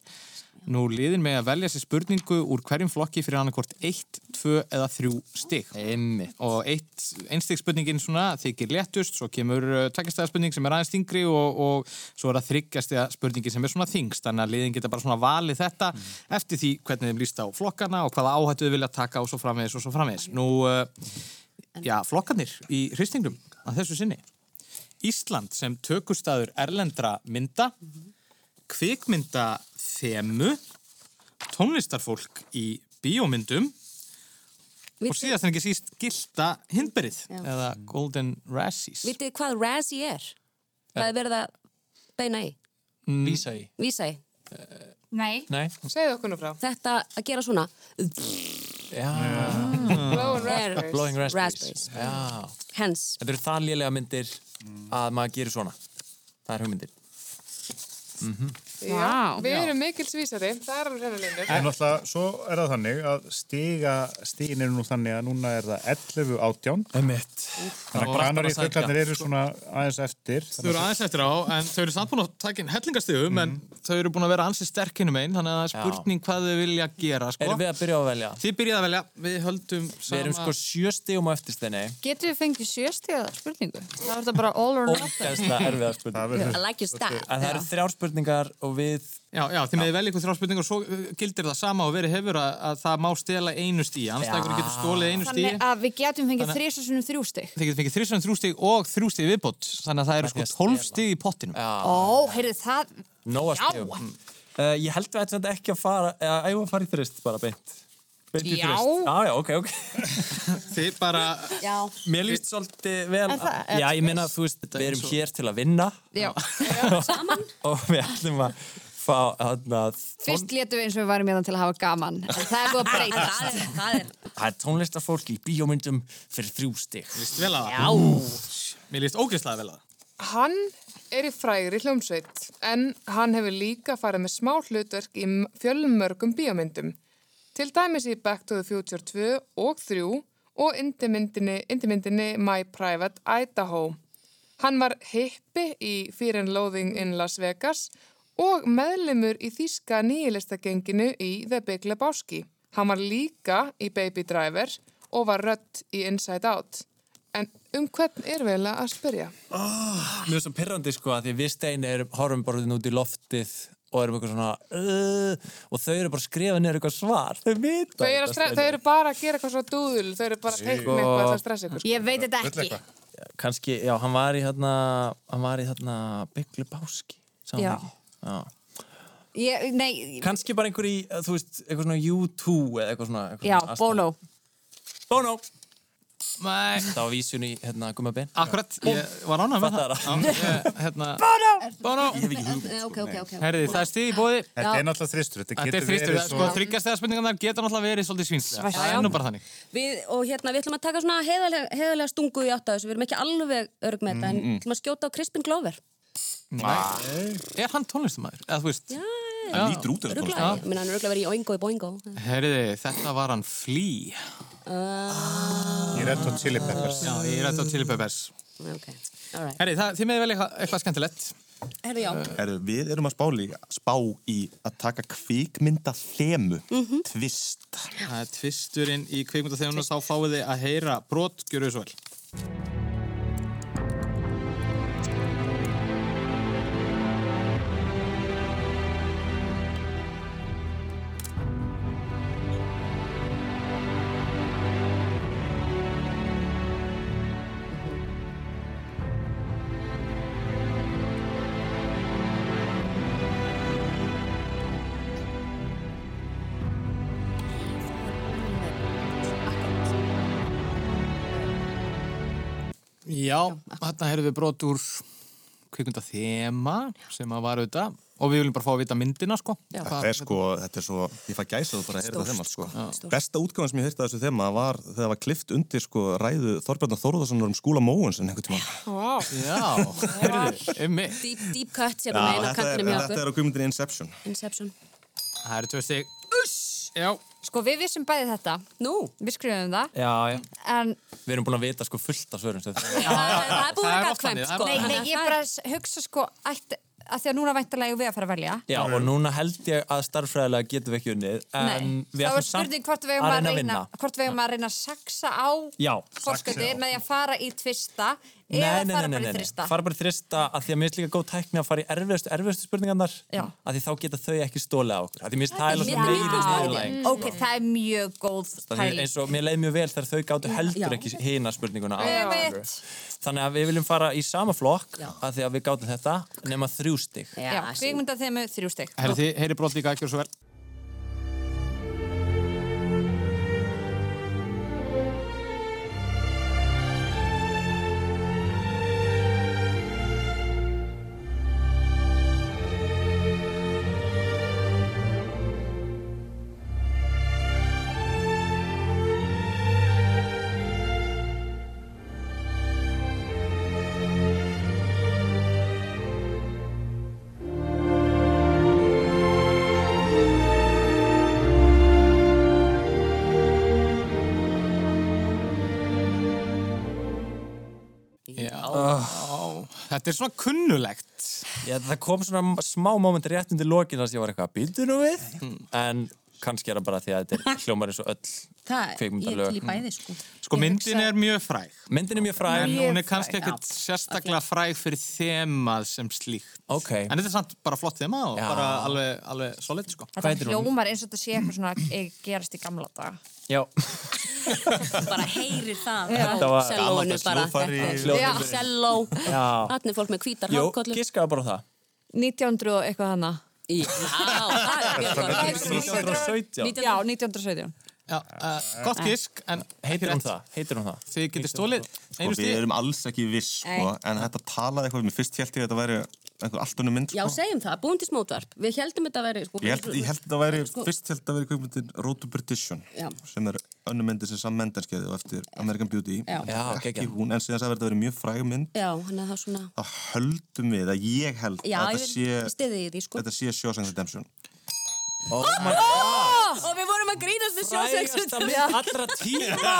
Speaker 1: Nú liðin með að velja sér spurningu úr hverjum flokki fyrir annarkvort 1, 2 eða 3 stig. Einmitt. Og eitt, einstig spurningin svona þykir léttust, svo kemur tveggjastega spurning sem er aðeins þingri og, og svo er það þryggjastega spurningin sem er svona þingst. Þannig að liðin geta bara svona valið þetta eftir því hvernig þeim líst á flokkana og hvaða áhættu þau vilja taka og svo framvegis og svo framvegis. Nú, uh, já, flokkanir í hristingnum að þessu sinni. Ísland sem tökustaður erlendra mynda, kvikmynda þemu, tónlistarfólk í bíómyndum og síðast en ekki síst gilda hindberið
Speaker 6: Já.
Speaker 1: eða Golden Razzies.
Speaker 6: Vitið þið hvað Razzie er? Það er verið að beina í,
Speaker 4: Mm.
Speaker 1: Mm.
Speaker 4: Vísa í.
Speaker 6: vísa í.
Speaker 5: Nei.
Speaker 4: Nei.
Speaker 6: Segðu okkur nú frá. Þetta að gera svona.
Speaker 4: Blowing
Speaker 6: raspberries.
Speaker 4: Blowing
Speaker 6: Raspberries.
Speaker 4: raspberries. Já.
Speaker 6: Hens.
Speaker 4: Þetta eru það lélega myndir að maður gerir svona. Það er hugmyndir. Mhm.
Speaker 1: Vá.
Speaker 3: Já, við erum mikilsvísari, það er alveg
Speaker 2: En
Speaker 3: hreinu línur.
Speaker 2: náttúrulega, svo er það þannig að stiga, stigin eru nú þannig að núna er það 11 átján.
Speaker 4: Emmett.
Speaker 2: Þannig að kanar í fuglarnir eru svona aðeins eftir.
Speaker 1: Þau eru aðeins eftir á, en þau eru samt búin að taka inn hellingastigum,
Speaker 4: Mm.
Speaker 1: en þau eru búin að vera ansi sterkinu megin, þannig að það er spurning hvað þau vilja gera, sko.
Speaker 4: Erum við að byrja á að velja?
Speaker 1: Þið byrjið að velja, við höldum sama...
Speaker 4: Við erum sko sjö stigum á eftir steini.
Speaker 5: Getum við fengið sjöstíða spurningu? Það er þetta bara all or nothing.
Speaker 4: Ógeðslega erfiða spurning.
Speaker 5: I like your style.
Speaker 4: En það eru þrjár spurningar og við...
Speaker 1: Já, já, þið meði velja ykkur þrjá spurningar og svo uh, gildir það sama og verið hefur að, að það má stela einu stíi, annars
Speaker 5: Já.
Speaker 1: það getur stólið einu stíi.
Speaker 5: Þannig að við getum fengið
Speaker 1: Þannig-
Speaker 5: þrísasunum þrjú stig.
Speaker 1: Þið getur fengið þrísvæðan þrjú stíg og þrjú stíg viðbót, þannig að það eru sko 12 stíg í pottinum.
Speaker 5: Ó, heyrðu það,
Speaker 4: Nóa
Speaker 5: Já.
Speaker 4: stigum. Uh, ég held við ætlum ekki að fara, eða æfum við að fara í þrist bara beint. Beint í
Speaker 5: Já.
Speaker 4: þrist. Já, já, ok, ok.
Speaker 1: [laughs] Þið bara...
Speaker 5: já.
Speaker 4: Mér líst svolítið vel.
Speaker 5: En það er
Speaker 4: Já, ég minna að þú veist, við erum hér til að vinna
Speaker 5: Já.
Speaker 4: og við ætlum að fá, hann
Speaker 5: Fyrst létum við eins og við varum hérna til að hafa gaman. En það er búið að breytast. það er,
Speaker 4: Það er tónlistarfólk í bíómyndum fyrir þrjú stig.
Speaker 1: Lýst vel að
Speaker 4: það?
Speaker 1: Já. Mér líst ógeðslega vel að það.
Speaker 3: Hann er í frægri hljómsveit, en hann hefur líka farið með smá hlutverk í m- fjölmörgum bíómyndum. Til dæmis í Back to the Future 2 og 3 og indimyndinni, indimyndinni My Private Idaho. Hann var hippi í Fear and Loathing in Las Vegas og meðlimur í þýska nýjilistagenginu í The Big Lebowski. Hann var líka í Baby Driver og var rött í Inside Out. En um hvern er vel að spyrja?
Speaker 4: Mér er svo pirrandi sko að því við stein erum horfum bara hérna út í loftið og erum eitthvað svona uh, og þau eru bara að skrifa niður eitthvað svar. Þau vita.
Speaker 3: Þau eru, að
Speaker 4: þetta,
Speaker 3: stre-
Speaker 4: Steini.
Speaker 3: þau eru bara að gera eitthvað svo dúðul, þau eru bara að teikna
Speaker 4: Sko.
Speaker 3: eitthvað til að stressa ykkur.
Speaker 5: Ég veit þetta ekki.
Speaker 4: Kanski, já, hann var í hérna, hann var í hérna Big Lebowski. sá hann
Speaker 5: Já.
Speaker 4: ekki? Já.
Speaker 5: ég, nei,
Speaker 4: Kanski bara einhver í, eh, þú veist, eitthvað svona U2 eða eitthvað svona. Eitthvað
Speaker 5: já,
Speaker 4: svona
Speaker 5: bóló.
Speaker 4: Bono.
Speaker 1: Nei.
Speaker 4: Það var vísun í hérna Gumma Ben.
Speaker 1: Akkurat, ég var ánað með það. Já, ég, hérna...
Speaker 5: Bono!
Speaker 1: Bono!
Speaker 4: Ég hef ekki hugmynd.
Speaker 5: Eh, Ok, ok, ok.
Speaker 1: Herði, það er stíð í bóði.
Speaker 2: Þetta er náttúrulega þristur. Þetta
Speaker 1: Þetta er
Speaker 2: getur
Speaker 1: þrýstur,
Speaker 2: verið
Speaker 1: sko,
Speaker 2: svo...
Speaker 1: þryggjastega spurningarnar geta náttúrulega verið svolítið svinslega. Það er nú bara þannig.
Speaker 6: Við, og hérna, við ætlum að taka svona heiðarlega, heiðarlega stungu í átt að þessu, við erum ekki alveg örg með þetta, en
Speaker 1: Mm, mm.
Speaker 6: ætlum að skjóta á Crispin Glover.
Speaker 1: Nei. Er hann tónlistamæður? Eða þú veist? Já,
Speaker 6: Hann lítur
Speaker 1: út
Speaker 6: Rugla, ég meina, hann er örglega verið í Oingo í Boingo.
Speaker 1: Herði, þetta var hann Flea.
Speaker 6: Eh,
Speaker 1: Ég er eftir á Chili Peppers. Já, ég er eftir á Chili Peppers.
Speaker 6: Ok, alright.
Speaker 1: Herri, það, þið meði vel eitthvað, eitthvað skemmtilegt. Eh,
Speaker 6: Herðu, já.
Speaker 7: Herðu, við erum að spá, líka, spá í að taka kvikmynda þemu
Speaker 6: Mhm.
Speaker 7: tvist
Speaker 1: Það er tvisturinn í kveikmyndaþjóðunum, þá fáið þið að heyra brot, gjöru þið svo vel. Já, þarna heyrðum við brot úr kveikmyndaþema sem að var auðvitað og við viljum bara fá að vita myndina, sko.
Speaker 7: Þetta er sko, þetta er svo, ég fæ gæsa þú bara að heyra
Speaker 1: Stórt,
Speaker 7: þetta þema sko.
Speaker 1: sko, stórt.
Speaker 7: Besta útgáðan sem ég heyrta þessu þema var þegar það var klift undir sko ræðu Þorbjörn Þórðarssonar um skúla Móens en einhvern tímann.
Speaker 3: Vá.
Speaker 1: Já, heyrðu, emmi.
Speaker 6: Deep, deep cut
Speaker 7: Já,
Speaker 6: hérna meginn á
Speaker 7: þetta er,
Speaker 6: kantinum hjá
Speaker 7: þetta
Speaker 6: okkur.
Speaker 7: er á kvimundinni Inception.
Speaker 6: Inception.
Speaker 1: Það eru tvö stig. Já.
Speaker 5: Sko, við vissum bæði þetta.
Speaker 6: Nú?
Speaker 5: Við skrifum það.
Speaker 4: Já, já.
Speaker 5: En,
Speaker 4: Við erum búin að vita sko fullt af svörum. sem þau-
Speaker 5: það
Speaker 6: er búið að vera gagnkvæmt, sko.
Speaker 5: Nei, nei, ég bara s- hugsa sko, ætti, að því að núna væntalega við að fara að velja.
Speaker 4: Já, og núna held ég að starffræðilega getum við ekki unnið, en
Speaker 5: Nei,
Speaker 4: við
Speaker 5: þá er
Speaker 4: ætlum samt
Speaker 5: spurning hvort við eigum
Speaker 4: að
Speaker 5: að
Speaker 4: reyna að
Speaker 5: reyna,
Speaker 4: vinna.
Speaker 5: hvort við eigum að reyna að saksa á
Speaker 4: Já.
Speaker 5: fórsköti
Speaker 4: Saxa á.
Speaker 5: með því að fara í tvista eða
Speaker 4: Nei, nei,
Speaker 5: fara
Speaker 4: nei,
Speaker 5: bara
Speaker 4: nei,
Speaker 5: í
Speaker 4: nei,
Speaker 5: þrista.
Speaker 4: fara bara í þrista að því að mér finnst líka góð tækni að fara í erfiðustu, erfiðustu spurningarnar
Speaker 5: Já.
Speaker 4: að því þá geta þau ekki stólið á okkur að því mér finnst það er
Speaker 5: Já,
Speaker 4: alveg meiri
Speaker 5: mm.
Speaker 4: niðurlæging
Speaker 5: Ok, það er mjög góð
Speaker 4: Þannig
Speaker 5: pæling.
Speaker 4: eins og mér leiði mjög vel þegar þau gáttu heldur
Speaker 5: Já.
Speaker 4: ekki hina spurninguna á
Speaker 5: Ég veit.
Speaker 4: okkur. Þannig að við viljum fara í sama flokk
Speaker 5: Já.
Speaker 4: að því að við gáttum þetta nema þrjú stig
Speaker 5: Já, kvikmynda þeim með þrjú stygg.
Speaker 1: Herri, þið heyri brot líka, gjör svo vel.
Speaker 16: Thank
Speaker 1: Þetta er svona kunnulegt.
Speaker 4: Ah. Já, það kom svona smá moment rétt undir lokin að ég var eitthvað að býta nú við en kannski er það bara því að
Speaker 6: [laughs]
Speaker 4: þetta er hljómar eins og öll
Speaker 1: Það- ég er til í bæði,
Speaker 6: sko.
Speaker 1: Sko myndin er mjög fræg.
Speaker 4: Myndin er mjög fræg.
Speaker 1: En
Speaker 4: Mjög
Speaker 1: hún er kannski
Speaker 4: fræg,
Speaker 1: ekkert
Speaker 4: já.
Speaker 1: sérstaklega fræg fyrir þemað sem slíkt.
Speaker 4: Ok.
Speaker 1: En þetta er samt bara flott þema og bara alveg, alveg solid sko.
Speaker 17: Þetta hljómar eins og þetta sé eitthvað svona
Speaker 5: e-
Speaker 17: eh, gerast í gamla daga.
Speaker 4: Já.
Speaker 5: [laughs]
Speaker 6: bara heyrir það
Speaker 17: Já.
Speaker 6: á
Speaker 4: Þetta var
Speaker 6: sellóinu
Speaker 4: gamaldags
Speaker 6: bara
Speaker 4: hljóðfæri.
Speaker 6: þetta
Speaker 4: Hljóðfæri.
Speaker 6: er- Já, selló
Speaker 4: Já.
Speaker 6: þannig er fólk með hvítar
Speaker 4: Jó,
Speaker 6: hálkollur
Speaker 4: giskaði bara á það
Speaker 5: 1900 og eitthvað hana
Speaker 6: Já, það er Björn Þorri.
Speaker 5: 1917 Já, 1917
Speaker 1: Já, uh, gott gisk, en
Speaker 4: heitir hún það? Heitir hún það?
Speaker 1: Þið getur stólið
Speaker 7: Sko, við erum alls ekki viss, sko,
Speaker 6: Nei.
Speaker 7: en þetta talaði eitthvað, mér fyrst held ég að þetta væri einhver allt önnum mynd,
Speaker 6: Já,
Speaker 7: sko.
Speaker 6: segjum það, búin til smótvarp Við heldum þetta veri sko,
Speaker 7: Ég held, ég held þetta væri,
Speaker 6: Sko-
Speaker 7: fyrst held þetta væri kveikmyndin Road to Perdition,
Speaker 6: Já.
Speaker 7: sem er önnum myndi sem Sam Mendes gerði og eftir American Beauty.
Speaker 6: Já. Já,
Speaker 7: ekki
Speaker 6: geggjað.
Speaker 7: hún, en síðan sagði þetta væri mjög fræg mynd.
Speaker 6: Já, hann er það svona
Speaker 7: Það höldum við, að ég held
Speaker 6: Já,
Speaker 7: að Ah,
Speaker 6: ég
Speaker 7: þetta
Speaker 6: vil-
Speaker 7: sé,
Speaker 6: stiði í því sko
Speaker 7: þetta sé Shawshank Redemption.
Speaker 4: Oh
Speaker 6: oh, Og við vorum að grínast við
Speaker 4: Frægasta
Speaker 6: sjósexundum
Speaker 4: mynd allra tíma.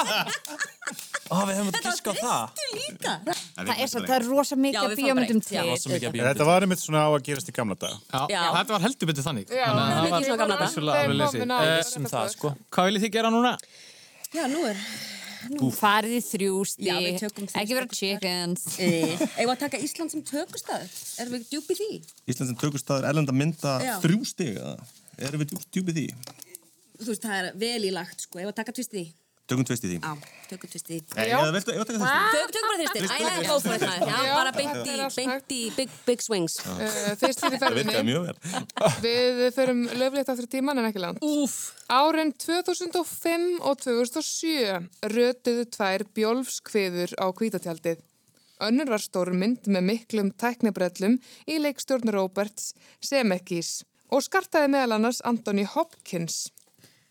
Speaker 4: Ó, við hefum þetta giskað á það.
Speaker 6: líka
Speaker 5: Það er, svo, það er rosa
Speaker 6: Já,
Speaker 5: mikið um
Speaker 6: við
Speaker 5: af
Speaker 6: fáum
Speaker 5: bíómyndum
Speaker 6: breytt,
Speaker 5: til
Speaker 6: já.
Speaker 1: Það var svo mikið af bíómyndum.
Speaker 2: Þetta var einmitt svona á að gerast í gamla dag.
Speaker 1: Já,
Speaker 6: Já.
Speaker 1: þetta var heldur betur þannig.
Speaker 6: Já,
Speaker 1: Þannig að
Speaker 6: það er mikið
Speaker 1: var
Speaker 6: svona gamla daga.
Speaker 1: vissulega alveg lesið.
Speaker 5: Þeir
Speaker 1: Eh,
Speaker 5: komin á-
Speaker 1: sem það, sko. Hvað viljið þið gera núna?
Speaker 6: Já, nú er
Speaker 5: Nú farið í þrjústi
Speaker 6: Já, við tökum þrjú
Speaker 5: Ekki vera chickens
Speaker 6: Eða að taka [laughs] Ísland sem tökustað Erum við djúpi því?
Speaker 7: Ísland sem tökust staður erlenda mynda
Speaker 6: Já.
Speaker 7: þrjú stig, eða? Erum við djúpt djúpið því?
Speaker 6: Þú veist, það er vel í lagt sko Eða að taka tvist í því?
Speaker 7: Tökum tvist í því.
Speaker 6: Já, tökum tvist í
Speaker 7: Nei,
Speaker 6: því
Speaker 7: eða viltu- eða taka þristin?
Speaker 6: Tök- Tökum bara þristin,
Speaker 7: Þristin.
Speaker 6: I like go for it maður. hérna. Já,
Speaker 3: Já.
Speaker 6: bara beint í, beint í big, big swings
Speaker 3: Eh, þristin í
Speaker 7: Það virkaði
Speaker 3: ferðinni.
Speaker 7: mjög vel.
Speaker 3: Við förum löflétt aftur í tíman en ekki langt.
Speaker 6: Úf.
Speaker 3: Árin 2005 og 2007 rötuðu tvær bjólfskviður á kvítatjaldið. Önnur var stórmynd með miklum tæknibrellum í leikstjórn Roberts Semekis og skartaði meðal annars Anthony Hopkins.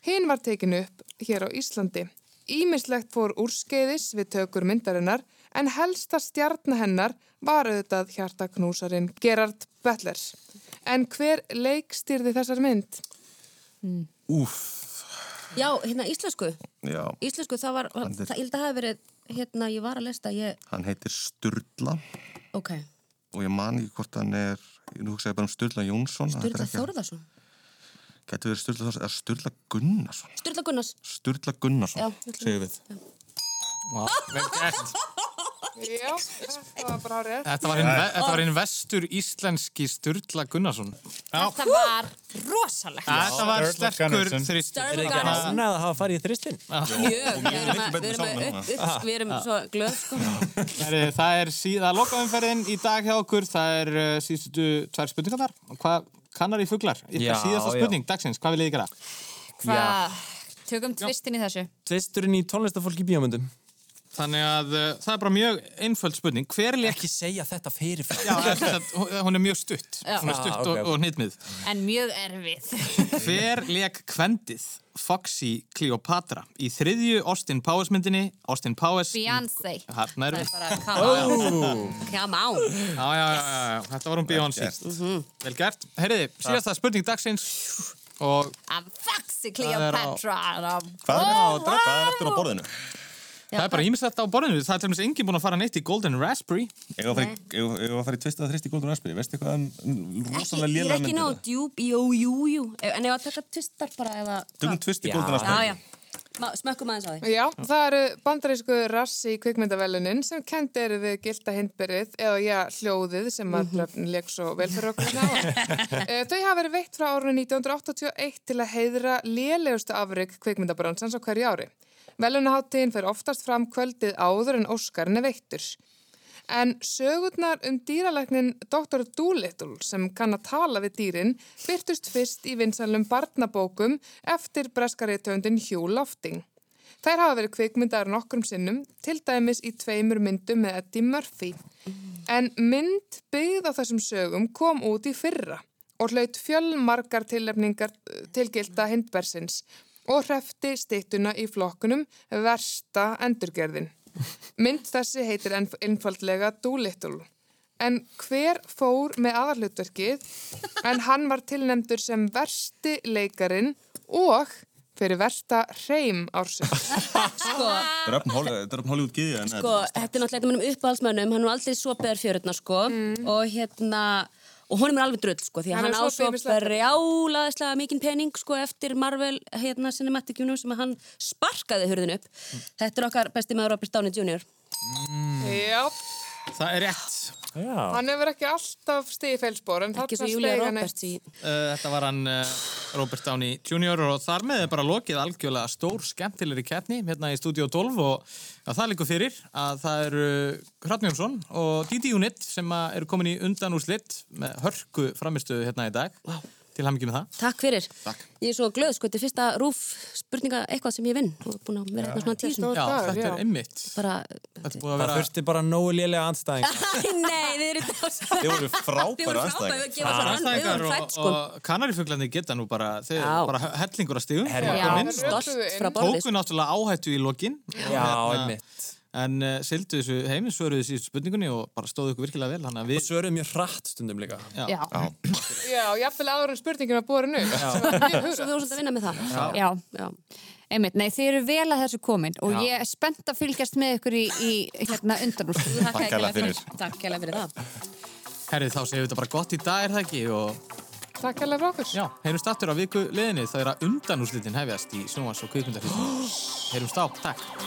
Speaker 3: Hinn var tekin upp hér á Íslandi. Ímislegt fór úrskeiðis við tökur myndarinnar en helsta stjarn hennar var auðvitað hjartaknúsarinn Gerard Butler. En hver leikstýrði þessar mynd?
Speaker 6: Já, hérna íslensku
Speaker 7: Já,
Speaker 6: Íslensku, það var, það,
Speaker 7: Andri.
Speaker 6: ég held að hafa verið hérna, ég var að lesta, ég,
Speaker 7: hann heitir Sturla
Speaker 6: ok
Speaker 7: og ég man ekki hvort hann er, nú hugsa ég bara um Sturla Jónsson. þetta er
Speaker 6: Sturla
Speaker 7: ekki-
Speaker 6: Þórðarsson
Speaker 7: Gæti verið Sturla Þórsson, eða Sturla Gunnarsson.
Speaker 6: Sturla Gunnars
Speaker 7: Sturla Gunnarsson,
Speaker 6: Já,
Speaker 7: segir við.
Speaker 1: Vá, vel gert.
Speaker 3: Já, þetta var bara árið.
Speaker 1: Þetta var hinn, þetta var hinn vestur íslenski Sturla Gunnarsson. Já.
Speaker 17: Þetta var rosalegt.
Speaker 1: Þetta var sterkur þrýstur.
Speaker 4: Er ekki ánægð að hafa farið í þrýstin?
Speaker 6: Mjög, við erum að- við erum að upp- upp- við erum svo glöð sko.
Speaker 1: Herri, það er síðan lokaumferðin í dag hjá okkur. Það er uh, síðustu tvær spurningar þar. Og Hvað kannar í fuglar?
Speaker 4: Já,
Speaker 1: Ykkar síðasta
Speaker 4: já.
Speaker 1: spurning, dagsins. Hvað viljið þið gera?
Speaker 5: Hvað? Tökum tvistin í þessu
Speaker 4: Tvisturinn í tónlistafólki í bíómyndum.
Speaker 1: Þannig að uh, það er bara mjög einföld spurning. Hver leik...
Speaker 4: Ekki segja þetta fyrirfram.
Speaker 1: Já, þess að hún- hún er mjög stutt.
Speaker 5: Já.
Speaker 1: Hún er
Speaker 4: Ah,
Speaker 1: stutt
Speaker 4: ok, ok.
Speaker 1: og, og hnitmið.
Speaker 5: En mjög erfið
Speaker 1: Hver leik kvendið Foxy Cleopatra í þriðju Austin Powers myndinni? Austin Powers...
Speaker 5: Beyonce
Speaker 1: Þarna
Speaker 5: Það
Speaker 1: erum
Speaker 5: er
Speaker 1: við.
Speaker 5: bara
Speaker 1: Ó.
Speaker 5: Come on
Speaker 1: Já, já, já, já, já. Þetta var um hún Beyoncé. Mhm. Vel gert. Herriði, síðasta spurning dagsins og
Speaker 5: I'm Foxy
Speaker 1: Það er á-
Speaker 5: Cleopatra and I'm-
Speaker 7: Hvað er,
Speaker 5: Oh,
Speaker 7: oh, hvað er
Speaker 5: wow.
Speaker 7: eftir á borðinu?
Speaker 1: það er bara ímislegt á borðinu. Það er til dæmis enginn búin að fara neitt í Golden Raspberry.
Speaker 7: Ég var að fara í- eigum- eigum við að fara í tvist að þrist í Golden Raspberry. Veistu hvað um, um rosalega
Speaker 6: Ég er
Speaker 7: lélega
Speaker 6: ekki
Speaker 7: myndir
Speaker 6: nóg
Speaker 7: það?
Speaker 6: djúb, jú, jú, jú En ef að taka tvistar bara eða
Speaker 7: Tökum
Speaker 6: hvað?
Speaker 7: tvist í
Speaker 6: Já.
Speaker 7: Golden Raspberry.
Speaker 6: Já, já, Ma- smökkum aðeins á því
Speaker 3: Já, það eru bandarísku rassi í kvikmyndavelunin sem kend eru við gilda hindberið eða já, hljóðið sem að dröfn leik svo vel fyrir okkur ná. Þau hafa verið veitt frá árunni 1981 til að heiðra lélegustu afrygg kvikmyndabransans á hverju ári. Velunaháttíðin fer oftast fram kvöldið áður en Óskarinn er veittur. En sögurnar um dýralæknin Dr. Doolittle sem kann að tala við dýrin byrtust fyrst í vinsalum barnabókum eftir breskariðtöndin Hugh Lofting. Þær hafa verið kvikmyndaðar nokkrum sinnum, til dæmis í tveimur myndum með Eddie Murphy. En mynd byggð á þessum sögum kom út í fyrra og hlaut fjölmargar tilnefningar eh, til gilda hindbersins og hrefti stittuna í flokkunum versta endurgerðin. Mynd þessi heitir enf- einfaldlega Doolittle. En hver fór með aðalhlutverkið en hann var tilnefndur sem versti leikarin og fyrir versta hreim ársins.
Speaker 6: sko,
Speaker 7: Þetta er öfn Holly- þetta er öfn Hollywood gyðja en
Speaker 6: sko, þetta er náttúrulega einn af mínum uppáhaldsmönnum, hann er nú aldrei sopiðar fjörutna, sko, og hérna, og honum er alveg drull, sko, því að
Speaker 5: Hann
Speaker 6: hann, á
Speaker 5: hefur sopið
Speaker 6: svo
Speaker 5: ýmislegt.
Speaker 6: brjálaðislega mikinn pening, sko, eftir Marvel, hérna, Cinematic Universe, sem að hann sparkaði hurðin upp. Þetta er okkar besti maður Robert Downey Jr.
Speaker 3: Já,
Speaker 1: Mm. Það er rétt.
Speaker 3: hann hefur ekki alltaf stigið felsbor, en
Speaker 6: Ekki
Speaker 3: þarna
Speaker 6: svo Julia
Speaker 3: steig hann
Speaker 6: Roberts í...
Speaker 1: Uh, þetta var hann uh, Robert Downey Jr. og þar með er bara lokið algjörlega stór skemmtilegri keppni hérna í Studio 12 og ja, það líka fyrir að það eru Hrafn Jónsson og Didi Unit sem að eru komin í undan úr slitt með hörku framistuðu hérna í dag wow. til ham ekki með það
Speaker 6: Takk fyrir. Takk. Ég er svo glöð, sko, þetta er fyrsta rúf spurninga eitthvað sem ég vinn og búin að vera hérna svona tíu sinni.
Speaker 1: Já, þetta er einmitt
Speaker 6: Bara, [laughs]
Speaker 1: að
Speaker 4: Það
Speaker 1: vera-
Speaker 4: þurfti bara nógu lélega andstæðing
Speaker 6: nei, þið eru dásamlega.
Speaker 4: Þið voru frábærar
Speaker 6: Þið voru
Speaker 4: andstæðingar.
Speaker 6: frábæðar, við vorum hrædd,
Speaker 1: Andstæðingar og,
Speaker 6: sko.
Speaker 1: og kanarifuglarnir geta nú bara, þeir eru bara hellingur að stigum
Speaker 6: Herra, Já, stolt frá borði,
Speaker 1: tóku náttúrulega áhættu í lokin Hérna,
Speaker 4: Já, einmitt.
Speaker 1: en uh, sildu þessu heiminn svöruðu síðust spurningunni og bara stóðu ykkur virkilega vel og
Speaker 4: svöruðu mjög hratt stundum líka
Speaker 1: já.
Speaker 3: Já. Já, jafnvel áður en spurningin var borin upp.
Speaker 4: Já.
Speaker 3: sem var mjög hugrakkt.
Speaker 6: Svo við vorum svolítið að vinna með það.
Speaker 5: Já. Já. Einmitt, nei, þið eru vel að þessu komin og
Speaker 6: Já.
Speaker 5: ég er spennt að fylgjast með ykkur í, í hérna undan úr.
Speaker 1: Takk kærlega fyrir.
Speaker 6: Takk kælega fyrir það.
Speaker 1: Herrið, þá segjum við þetta bara gott í dag, er það ekki? Og
Speaker 3: Takk alveg frá okkur.
Speaker 1: Já. heyrumst aftur á viku liðinni, það er að undanúslitin hefjast í sjónvans og kvikmyndafísum. [gasps] Heyrumst á, takk.